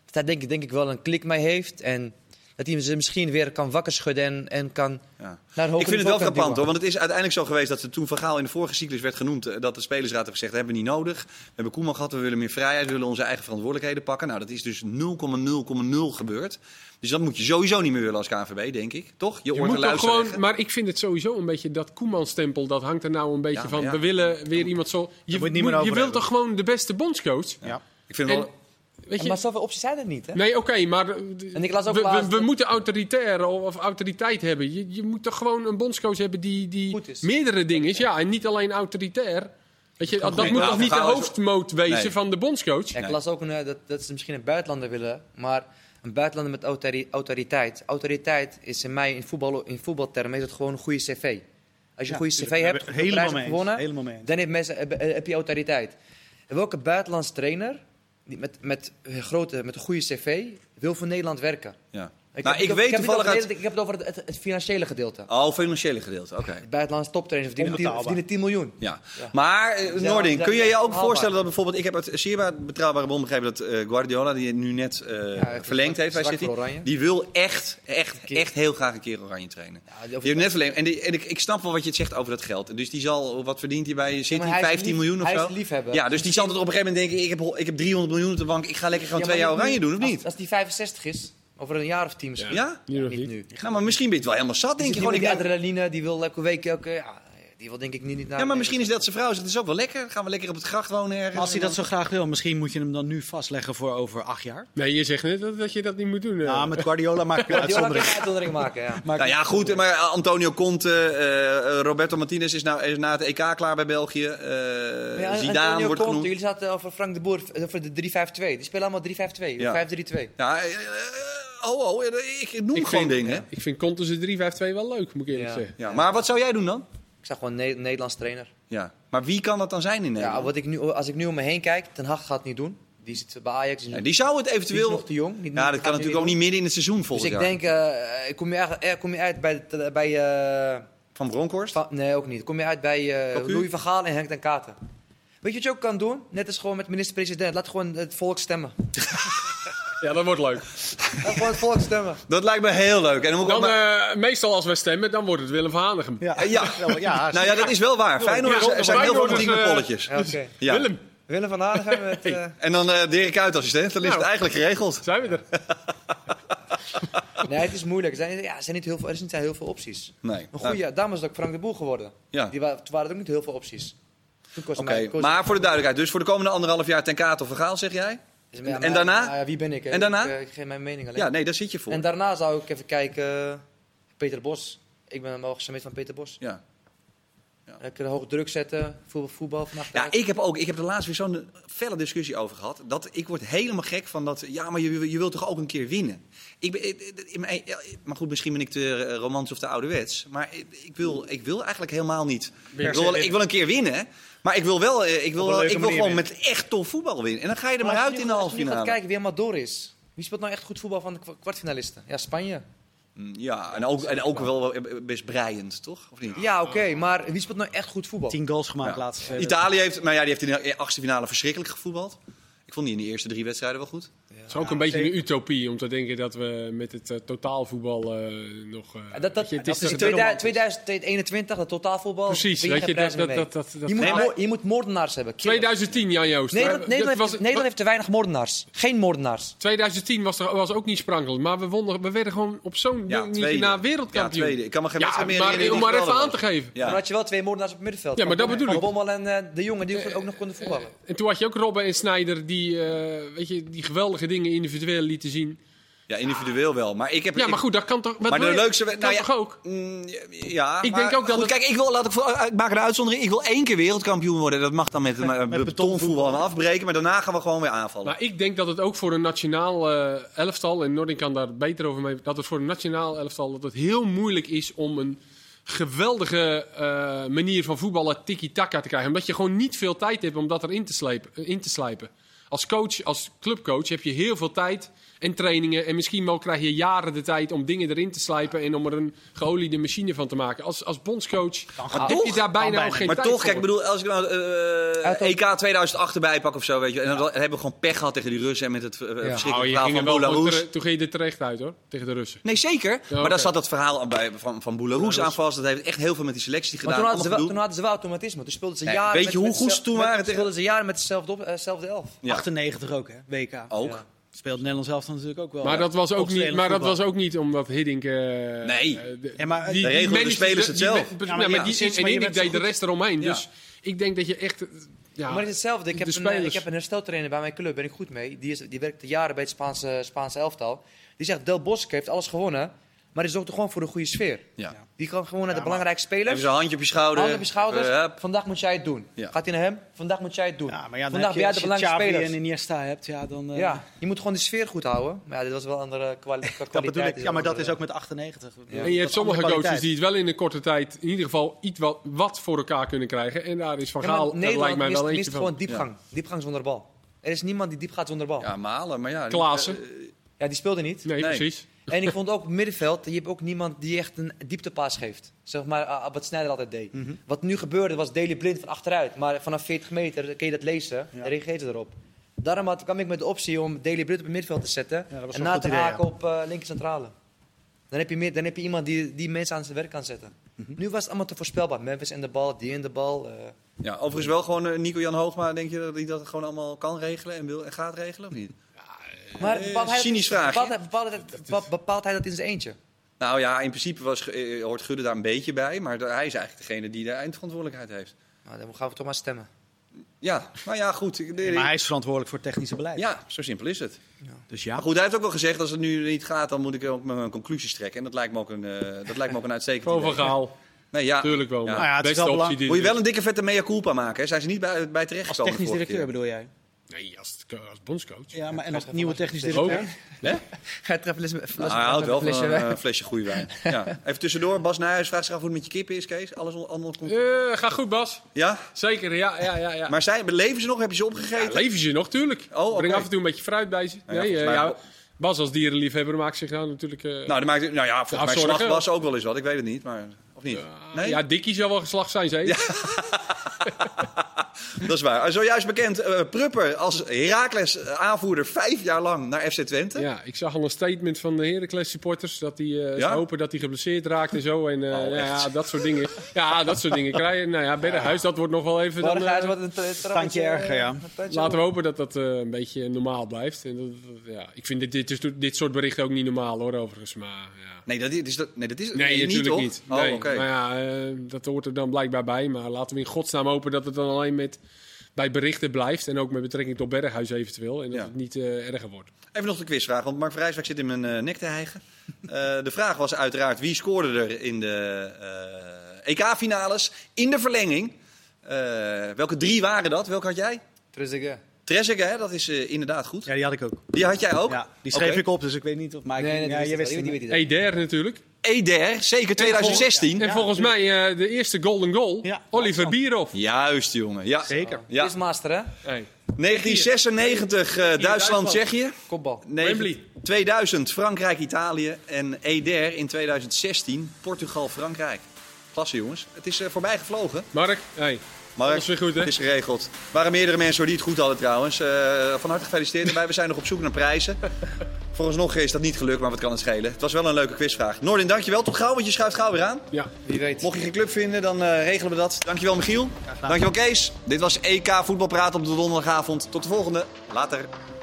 S3: dat hij denk, ik- denk ik wel een klik mee heeft. En dat hij ze misschien weer kan wakker schudden en, en kan
S1: Ja.
S3: naar
S1: Ik vind
S3: een hoger
S1: het wel
S3: niveau kan
S1: frappant hoor,
S3: duwen.
S1: want het is uiteindelijk zo geweest dat er toen Van Gaal in de vorige cyclus werd genoemd eh, dat de spelersraad heeft gezegd, dat hebben we niet nodig. We hebben Koeman gehad, we willen meer vrijheid, we willen onze eigen verantwoordelijkheden pakken. Nou, dat is dus 0,0,0 gebeurd. Dus dat moet je sowieso niet meer willen als KNVB, denk ik. Toch? Je,
S2: Je
S1: oor te
S2: moet toch
S1: luisteren.
S2: gewoon, maar ik vind het sowieso een beetje dat Koeman-stempel, dat hangt er nou een beetje
S1: Ja,
S2: van.
S1: ja.
S2: We willen weer iemand zo. Je,
S4: moet je niet meer
S2: moet- je
S4: over
S2: wilt
S4: hebben.
S2: toch gewoon de beste bondscoach?
S4: Ja.
S1: Ik vind
S2: En-
S1: wel...
S2: Weet je?
S3: Maar zoveel opties zijn er niet, hè?
S2: Nee, oké, maar eh,
S3: En ik las ook
S2: we, we,
S3: laatst-
S2: we moeten autoritair of, of autoriteit hebben. Je, je moet toch gewoon een bondscoach hebben die, die
S3: Goed is.
S2: meerdere dingen is. Ja, en niet alleen autoritair. Weet je, dat
S1: goed.
S2: moet
S1: Ja,
S2: toch niet de
S1: Van Gaal is-
S2: hoofdmoot wezen
S1: Nee.
S2: van de bondscoach?
S3: Ja, ik
S1: Nee.
S3: las ook een, eh, dat, dat ze misschien een buitenlander willen, maar een buitenlander met autori- autoriteit. Autoriteit is in mij, in, voetbal, in voetbaltermen, is het gewoon een goede cv. Als je een goede cv
S4: tuurlijk.
S3: hebt,
S4: Daar ben ik
S3: een prijs
S4: helemaal mee
S3: hebt
S4: eens.
S3: gewonnen,
S4: Helemaal mee eens.
S3: dan heb, mensen, heb, eh, heb je autoriteit. En welke buitenlandse trainer die met, met, een grote, met een goede cv wil voor Nederland werken?
S1: Ja.
S3: Ik,
S1: nou,
S3: heb
S1: ik
S3: het-
S1: weet
S3: heb het over
S1: toevallig uit...
S3: Nederland- ik heb het over het, het- het financiële gedeelte.
S1: Oh, financiële gedeelte, oké.
S3: Buitenlandse toptrainers verdienen 10,
S4: Onbetaalbaar.
S3: verdienen 10 miljoen.
S1: Ja.
S3: Ja.
S1: Maar eh,
S3: Ja,
S1: Noording,
S3: ja,
S1: kun je je
S3: ja,
S1: ook
S3: haalbaar.
S1: voorstellen dat bijvoorbeeld, ik heb uit zeer bij- betrouwbare bron begrepen dat eh, Guardiola, die nu net eh,
S3: het
S1: verlengd
S3: is zwak-
S1: heeft bij
S3: zwak
S1: City,
S3: voor Oranje.
S1: die wil echt, echt,
S3: keer.
S1: echt heel graag een keer Oranje trainen.
S3: Ja,
S1: Die
S3: over-
S1: heeft net verlengd. En, die- en ik, ik snap wel wat je het zegt over dat geld. Dus die zal, wat verdient hij bij City?
S3: maar hij is
S1: 15
S3: lief-
S1: miljoen of
S3: hij is
S1: zo?
S3: liefhebber.
S1: Ja, dus die zal er op een gegeven moment denken, ik heb, hol- ik heb 300 miljoen op de bank, ik ga lekker gewoon
S3: Ja,
S1: twee
S3: maar
S1: jaar
S3: niet nu.
S1: Oranje doen, of
S3: Als-
S1: niet?
S3: Als die 65 is, over een jaar of tien misschien.
S1: Ja?
S2: Nu nog
S3: Niet
S2: niet.
S3: nu.
S1: Nou, maar misschien ben je het wel helemaal zat, denk je
S3: Die
S1: gewoon.
S3: wil
S1: Ik
S3: die
S1: neem-
S3: adrenaline, die wil elke week elke... Ja, die wil denk ik niet, niet naar...
S1: Ja, maar misschien is dat zijn vrouw, zegt, het is ook wel lekker. Dan gaan we lekker op het gracht wonen ergens.
S4: Maar als hij dat zo graag wil, misschien moet je hem dan nu vastleggen voor over acht jaar.
S2: Nee, je zegt net dat, dat je dat niet moet doen. eh.
S4: Ja, met Guardiola maak ik
S3: Die
S4: een
S3: wil ook een
S4: uitzondering.
S3: uitzondering maken, ja.
S1: Nou ja, goed, maar Antonio Conte, eh, eh, Roberto Martinez is, nou, is na het EK klaar bij België. Eh
S3: Ja, Antonio
S1: Zidane wordt
S3: Conte,
S1: genoemd.
S3: Jullie zaten over Frank de Boer, eh, over de 3-5-2. Die spelen allemaal 3-5-2,
S1: Ja.
S3: 5-3-2.
S1: Ja, eh, eh, oh, oh, eh, ik noem
S2: ik
S1: gewoon
S2: vind,
S1: dingen. hè.
S2: ik vind Conte 3-5-2 wel leuk, moet ik eerlijk
S3: Ja.
S2: zeggen.
S1: Ja, maar wat zou jij doen dan?
S3: Ik zag gewoon een Ne- Nederlands trainer.
S1: Ja. Maar wie kan dat dan zijn in
S3: Ja,
S1: Nederland?
S3: wat ik nu, als ik nu om me heen kijk, Ten Hag gaat het niet doen. Die zit bij Ajax. Die,
S1: Ja, die zou het
S3: die is
S1: eventueel...
S3: nog te jong. Die- die
S1: Ja,
S3: gaat
S1: dat
S3: nu
S1: kan natuurlijk ook
S3: doen.
S1: niet midden in het seizoen
S3: Dus
S1: volgens
S3: ik
S1: jaar.
S3: denk, eh, ik kom, je, eigenlijk- eh, kom je uit bij... de- bij eh,
S1: Van Bronkhorst?
S3: Va- nee, ook niet. Kom je uit bij eh
S1: Cocu?
S3: Louis van Gaal en Henk ten Katen. Weet je wat je ook kan doen? Net als gewoon met minister-president. Laat gewoon het volk stemmen.
S2: Ja, dat wordt leuk.
S3: Laat gewoon het volk stemmen.
S1: Dat lijkt me heel leuk. En dan moet ik ook
S2: Dan,
S1: maar-
S2: eh, meestal als wij stemmen, dan wordt het Willem van Hanegem.
S4: Ja.
S1: Eh, ja.
S4: Ja, ja,
S1: Nou ja, dat is wel waar. Feyenoord
S2: Ja,
S1: er zijn heel veel
S2: Feyenoord is, eh,
S1: teampolletjes.
S3: Ja, Oké.
S1: Ja.
S2: Willem,
S3: Willem van Hanegem met... eh,
S1: En dan eh Dirk uit assistent, dan is
S2: Nou.
S1: het eigenlijk geregeld.
S2: zijn we er?
S3: Nee, het is moeilijk. Er zijn, ja, er, zijn niet heel veel, er zijn niet heel veel opties.
S1: Nee.
S3: Een goede, daarom is het ook Frank de Boer geworden.
S1: Ja.
S3: Die wa- toen waren er ook niet heel veel opties. Toen kostte
S1: Oké,
S3: mij- koos-
S1: maar voor de duidelijkheid. Dus voor de komende anderhalf jaar ten kate of vergaal, zeg jij?
S3: Dus, maar ja,
S1: en
S3: maar-
S1: daarna?
S3: maar ja, wie ben ik? hè?
S1: En daarna?
S3: Ik, eh, ik geef mijn mening alleen.
S1: Ja, nee, daar zit je voor.
S3: en daarna zou ik even kijken... eh, Peter Bos. Ik ben wel gesmeed van Peter Bos.
S1: Ja.
S3: Ik kan hoog druk zetten. Voetbal, voetbal vannacht.
S1: ja, ik heb ook, ik heb er laatst weer zo'n felle discussie over gehad. Dat ik word helemaal gek van dat, ja, maar je, je wilt toch ook een keer winnen? Ik ben, eh, eh, in mijn- ja, maar goed, misschien ben ik te eh, romantisch of te ouderwets. Maar eh, ik wil, ik wil eigenlijk helemaal niet. Ik wil, wel- ik wil een keer winnen, maar ik wil wel, eh, ik wil,
S4: een
S1: wel-
S4: leuke
S1: ik wil
S4: manier
S1: gewoon met echt tof voetbal winnen. En dan ga je er maar,
S3: Maar als
S1: uit
S3: je
S1: in
S3: nu-
S1: de
S3: als
S1: halve
S3: je nu gaat
S1: finale.
S3: kijken wie helemaal door is. Wie speelt nou echt goed voetbal van de kwa- kwartfinalisten? Ja, Spanje.
S1: Mm, Ja, en ook, en ook wel eh, best breiend, toch? Of niet?
S3: Ja, oké,
S1: Ah.
S3: maar wie speelt nou echt goed voetbal?
S4: Tien goals gemaakt
S1: Ja.
S4: laatst. eh,
S1: Italië heeft, nou ja, die heeft in de achtste finale verschrikkelijk gevoetbald. Ik vond die in de eerste drie wedstrijden wel goed.
S2: Het is ook een beetje een utopie om te denken dat we met het eh, totaalvoetbal eh, nog... eh,
S3: Ja, Dat, dat,
S2: weet je, het is
S3: dat is
S2: toch-
S3: 2000, 2021, dat totaalvoetbal.
S2: Precies,
S3: win je
S2: weet je,
S3: geen
S2: dat,
S3: prijs meer
S2: dat,
S3: mee.
S2: dat, dat, dat-
S3: je, moet,
S1: Nee, maar-
S3: moor- je moet moordenaars hebben. killers.
S2: 2010, Jan Joost.
S3: Nederland,
S2: Dat
S3: Nederland,
S2: was-
S3: heeft, Nederland heeft te weinig moordenaars. Geen moordenaars.
S2: 2010 was, er, was ook niet sprankelend, maar we, wonnen, we werden gewoon op zo'n
S1: Ja,
S2: ding
S1: tweede.
S2: na
S1: Ja,
S2: wereldkampioen.
S1: tweede. Ik kan me geen
S2: Ja,
S1: wedstrijd meer
S2: maar
S1: herinneren
S2: om
S1: die
S2: maar even
S1: geweldig
S2: aan te
S1: was.
S2: geven.
S3: Dan
S1: Ja.
S3: had je wel twee moordenaars op het middenveld.
S2: Ja, maar dat
S3: Van
S2: bedoel ik.
S3: Bommel en eh, de jongen die ook nog konden
S1: Eh,
S3: voetballen.
S2: En toen had je ook Robben en Snyder die, eh, weet je, die geweldige dingen individueel lieten zien.
S1: ja, individueel wel. Maar ik heb
S2: Ja,
S1: ik-
S2: maar goed, dat kan toch... wat
S1: Maar
S2: wil
S1: de
S2: je?
S1: leukste...
S2: kan
S1: nou ja,
S2: toch ook?
S1: mm, ja,
S2: Ik
S1: maar
S2: denk ook dat
S1: Goed,
S2: het-
S1: kijk, ik, wil, laat ik, voor- eh, ik maak een uitzondering. Ik wil één keer wereldkampioen worden. Dat mag dan met, met, betonvoetbal en afbreken. Maar daarna gaan we gewoon weer aanvallen.
S2: Maar ik denk dat het ook voor een nationaal eh, elftal, en Nordin kan daar beter over mee, dat het voor een nationaal elftal dat het heel moeilijk is om een geweldige eh, manier van voetballen tiki-taka te krijgen. Omdat je gewoon niet veel tijd hebt om dat erin te, slepen, eh, in te slijpen. Als coach, als clubcoach heb je heel veel tijd en trainingen. En misschien wel krijg je jaren de tijd om dingen erin te slijpen en om er een geoliede machine van te maken. Als, als bondscoach heb je
S1: toch?
S2: daar bijna
S4: bijna.
S2: ook geen
S1: Maar
S2: tijd
S1: toch,
S2: voor.
S1: kijk, ik bedoel, als ik nou eh,
S3: Uit-
S1: EK 2008 erbij pak of zo, weet je, en dan hebben we gewoon pech gehad tegen die Russen en met het eh,
S2: Oh,
S1: verschrikkelijke
S2: je
S1: verhaal
S2: ging
S1: van
S2: er wel goed
S1: Boularoes.
S2: tere- toen ging je er terecht uit hoor, tegen de Russen.
S1: Nee, zeker. maar
S2: oké.
S1: daar zat dat verhaal aan bij, van, van Boularoes aan vast. Dat heeft echt heel veel met die selectie
S3: Maar
S1: gedaan.
S3: toen hadden, ze wel,
S1: allemaal
S3: toen hadden ze wel automatisme. Toen speelden ze
S1: Nee,
S3: jaren.
S1: weet
S3: met-
S1: je hoe
S3: met
S1: goed ze
S3: zel-
S1: toen
S3: met-
S1: waren tegen-
S3: speelden ze jaren met dezelfde, op, eh, dezelfde elf.
S1: gedoe. Ja,
S4: 98 ook, hè? WK.
S1: ook.
S3: Ja.
S4: Speelt Nederland zelf dan natuurlijk ook wel.
S2: Maar, dat was, ook niet,
S4: Opstellend
S2: maar dat
S4: voetbal.
S2: was ook niet omdat Hiddink... eh,
S1: Nee.
S2: eh, de-
S4: Ja, maar,
S1: regelen de
S2: managed-
S1: spelers
S2: die-
S1: het zelf.
S2: die-
S4: Ja, maar
S2: nou,
S4: ja,
S2: maar die-
S4: precies,
S2: En
S4: maar je
S2: Hiddink
S4: bent
S2: deed de
S4: zo
S2: rest eromheen.
S1: Ja.
S2: Dus ik denk dat je echt... eh, Ja,
S3: Maar het is hetzelfde. Ik
S2: De
S3: heb, een, eh,
S2: spelers.
S3: ik heb een hersteltrainer bij mijn club, ben ik goed mee. Die, is, die werkt jaren bij het Spaanse, Spaanse elftal. Die zegt, Del Bosque heeft alles gewonnen, maar is ook toch gewoon voor een goede sfeer.
S1: Ja.
S3: Die kan gewoon naar de belangrijke
S1: Even
S3: spelers,
S1: zo'n handje op je schouder.
S3: handen op je schouders.
S1: Eh, hup.
S3: vandaag moet jij het doen.
S1: Ja.
S3: Gaat hij naar hem, vandaag moet jij het doen.
S4: Ja, maar ja, dan
S3: vandaag ben
S4: heb je,
S3: jij
S4: als
S3: de
S4: je
S3: belangrijke
S4: Xavi en
S3: speler.
S4: Iniesta hebt, ja, dan... eh,
S3: Ja, je moet gewoon de sfeer goed houden. Maar ja, dit was wel een andere kwali- kwaliteit.
S4: Dat bedoel ik.
S3: is eh,
S4: Ja, maar
S3: wel
S4: dat is ook met 98.
S2: En je hebt sommige coaches die het wel in een korte tijd... in ieder geval iets wat, wat voor elkaar kunnen krijgen. En daar is Van
S3: Ja, maar
S2: Gaal, er lijkt
S3: Nederland
S2: mij
S3: mist,
S2: wel
S3: mist
S2: eentje
S3: gewoon
S2: van.
S3: diepgang. Diepgang zonder bal. Er is niemand die diep gaat zonder bal. Ja,
S1: Ja, malen, maar ja. eh,
S2: Klaassen.
S3: die speelde niet.
S2: Nee,
S1: Nee.
S2: precies.
S3: En ik vond ook op het middenveld, je hebt ook niemand die echt een dieptepaas geeft. Zeg maar ah, wat Sneijder altijd deed.
S4: Mhm.
S3: Wat nu gebeurde was Daley blind van achteruit. Maar vanaf 40 meter kun je dat lezen
S4: Ja.
S3: en reageerde erop. Daarom had, kwam ik met de optie om Daley blind op het middenveld te zetten.
S4: Ja, dat was
S3: en
S4: wel
S3: na
S4: een
S3: te
S4: goed idee,
S3: haken op eh linker centrale. Dan heb, je meer, dan heb je iemand die, die mensen aan zijn werk kan zetten.
S4: Mhm.
S3: Nu was het allemaal te voorspelbaar. Memphis in de bal, die in de bal. eh.
S1: Ja, overigens wel gewoon eh, Nico-Jan Hoogma. Denk je dat hij dat gewoon allemaal kan regelen en, wil, en gaat regelen of niet?
S3: Maar
S1: Eh,
S3: bepaalt hij,
S1: cynisch
S3: dat,
S1: vraagje.
S3: bepaalt, hij- bepaalt hij dat- bepaalt- bepaalt hij dat in zijn eentje?
S1: Nou ja, in principe was, eh, hoort Gudde daar een beetje bij. Maar hij is eigenlijk degene die de eindverantwoordelijkheid heeft.
S3: Nou, dan gaan we toch maar stemmen.
S1: Ja, nou ja, goed. Ik-
S4: Maar hij is verantwoordelijk voor het technische beleid.
S1: Ja, zo simpel is het.
S4: Dus ja.
S1: Maar goed, hij heeft ook wel gezegd, als het nu niet gaat, dan moet ik ook mijn conclusies trekken. En dat lijkt me ook een, eh, dat lijkt me ook een uitstekend
S2: Gewoon
S1: idee.
S2: Van Gaal.
S1: Nee, ja.
S2: Tuurlijk wel.
S1: Ja.
S2: maar
S4: Nou ja, het is
S2: Beste
S4: wel
S2: optie
S4: belangrijk.
S2: die
S1: Moet je
S2: er
S1: wel een dikke vette mea culpa maken. Hè? Zijn ze niet bij, bij
S4: Als
S1: terechtgekomen
S4: technisch
S1: de vorige
S4: directeur
S1: keer?
S4: bedoel jij?
S2: is. Nee, als, als bondscoach.
S4: Ja, maar en als
S3: Ja,
S4: nieuwe
S3: volgens
S4: technisch
S2: Ook.
S4: directeur?
S3: Ga je treffen, les,
S1: Nou, hij houdt wel van een eh, flesje goede wijn. Ja. Even tussendoor, Bas Nijhuis vraagt zich af hoe het met je kippen is, Kees. Alles on- allemaal komt.
S2: Eh, Ga goed, Bas.
S1: Ja?
S2: Zeker, ja, ja, ja. ja.
S1: Maar zijn, leven ze nog? Heb je ze
S2: Ja,
S1: opgegeten?
S2: leven ze nog, tuurlijk.
S1: Oh, oké.
S2: Breng af en toe een beetje fruit bij ze.
S1: Nou ja,
S2: nee, eh,
S1: volgens mij-
S2: ja, Bas als dierenliefhebber maakt zich nou natuurlijk... eh,
S1: nou, dat maakt, het- nou ja, volgens mij
S2: zorgen.
S1: slacht Bas ook wel eens wat. Ik weet het niet, maar... Of niet? nee?
S2: Ja, Dikkie zal wel geslacht zijn, zeker.
S1: Dat is waar. Zojuist bekend, eh, Prupper als Herakles eh, aanvoerder vijf jaar lang naar FC Twente.
S2: Ja. ik zag al een statement van de Heracles supporters. Dat die eh,
S1: Ja?
S2: ze hopen dat hij geblesseerd raakt en zo. En eh,
S1: Oh,
S2: ja,
S1: echt?
S2: ja, dat soort dingen. Ja, dat soort dingen krijgen. Nou ja, bij de huis, dat wordt nog wel even... Dan, eh,
S3: wat een eh,
S4: tandje erger, ja.
S2: laten we hopen dat dat eh, een beetje normaal blijft. En dat, dat- ja. Ik vind dit, dit, is- dit soort berichten ook niet normaal, hoor, overigens. Maar, ja.
S1: Nee, dat is, dat, nee, dat is
S2: Nee, natuurlijk
S1: toch?
S2: niet.
S1: Oh,
S2: nee.
S1: oké.
S2: Maar ja, eh, dat hoort er dan blijkbaar bij. Maar laten we in godsnaam hopen dat het dan alleen met, bij berichten blijft. En ook met betrekking tot Berghuis eventueel. En dat
S1: Ja.
S2: het niet eh, erger wordt.
S1: Even nog de quizvraag, want Mark Vrijswijk zit in mijn eh, nek te hijgen. Eh, de vraag was uiteraard wie scoorde er in de eh, EK-finales in de verlenging. Eh, welke drie waren dat? Welke had jij?
S3: Trezeguet.
S1: Trezeguet, hè? dat is eh, inderdaad goed.
S4: Ja, die had ik ook.
S1: Die had jij ook?
S4: Ja, die schreef
S1: Oké.
S4: ik op, dus ik weet niet of... Maar ik-
S3: Nee, nee,
S4: ja, je wist
S3: die
S4: het
S3: weet
S4: niet.
S3: hij wel.
S2: Eder natuurlijk.
S1: EDR, zeker 2016.
S2: En volgens mij eh, de eerste golden goal.
S4: Ja.
S2: Oliver Bierhoff.
S1: Juist, jongen. Ja.
S4: Zeker.
S1: Ja.
S3: Is master, hè?
S2: Hey.
S1: 1996 eh,
S2: Duitsland.
S1: Duitsland-Tsjechië.
S3: Kopbal.
S1: Nee,
S2: Wembley.
S1: 2000 Frankrijk-Italië en Eder in 2016 Portugal-Frankrijk. Klasse jongens. Het is eh, voorbij gevlogen.
S2: Mark, hey.
S1: Mark,
S2: Alles weer goed, hè?
S1: het is geregeld. Er waren meerdere mensen hoor die het goed hadden trouwens. Eh, van harte gefeliciteerd. En wij we zijn nog op zoek naar prijzen. Vooralsnog is dat niet gelukt, maar wat kan het schelen? Het was wel een leuke quizvraag. Noordin, dankjewel. Tot gauw, want je schuift gauw weer aan.
S2: Ja.
S3: Wie weet.
S1: Mocht je geen club vinden, dan eh, regelen we dat. Dankjewel, E Michiel. Dankjewel, Kees. Dit was EK Voetbalpraat op de donderdagavond. Tot de volgende. Later.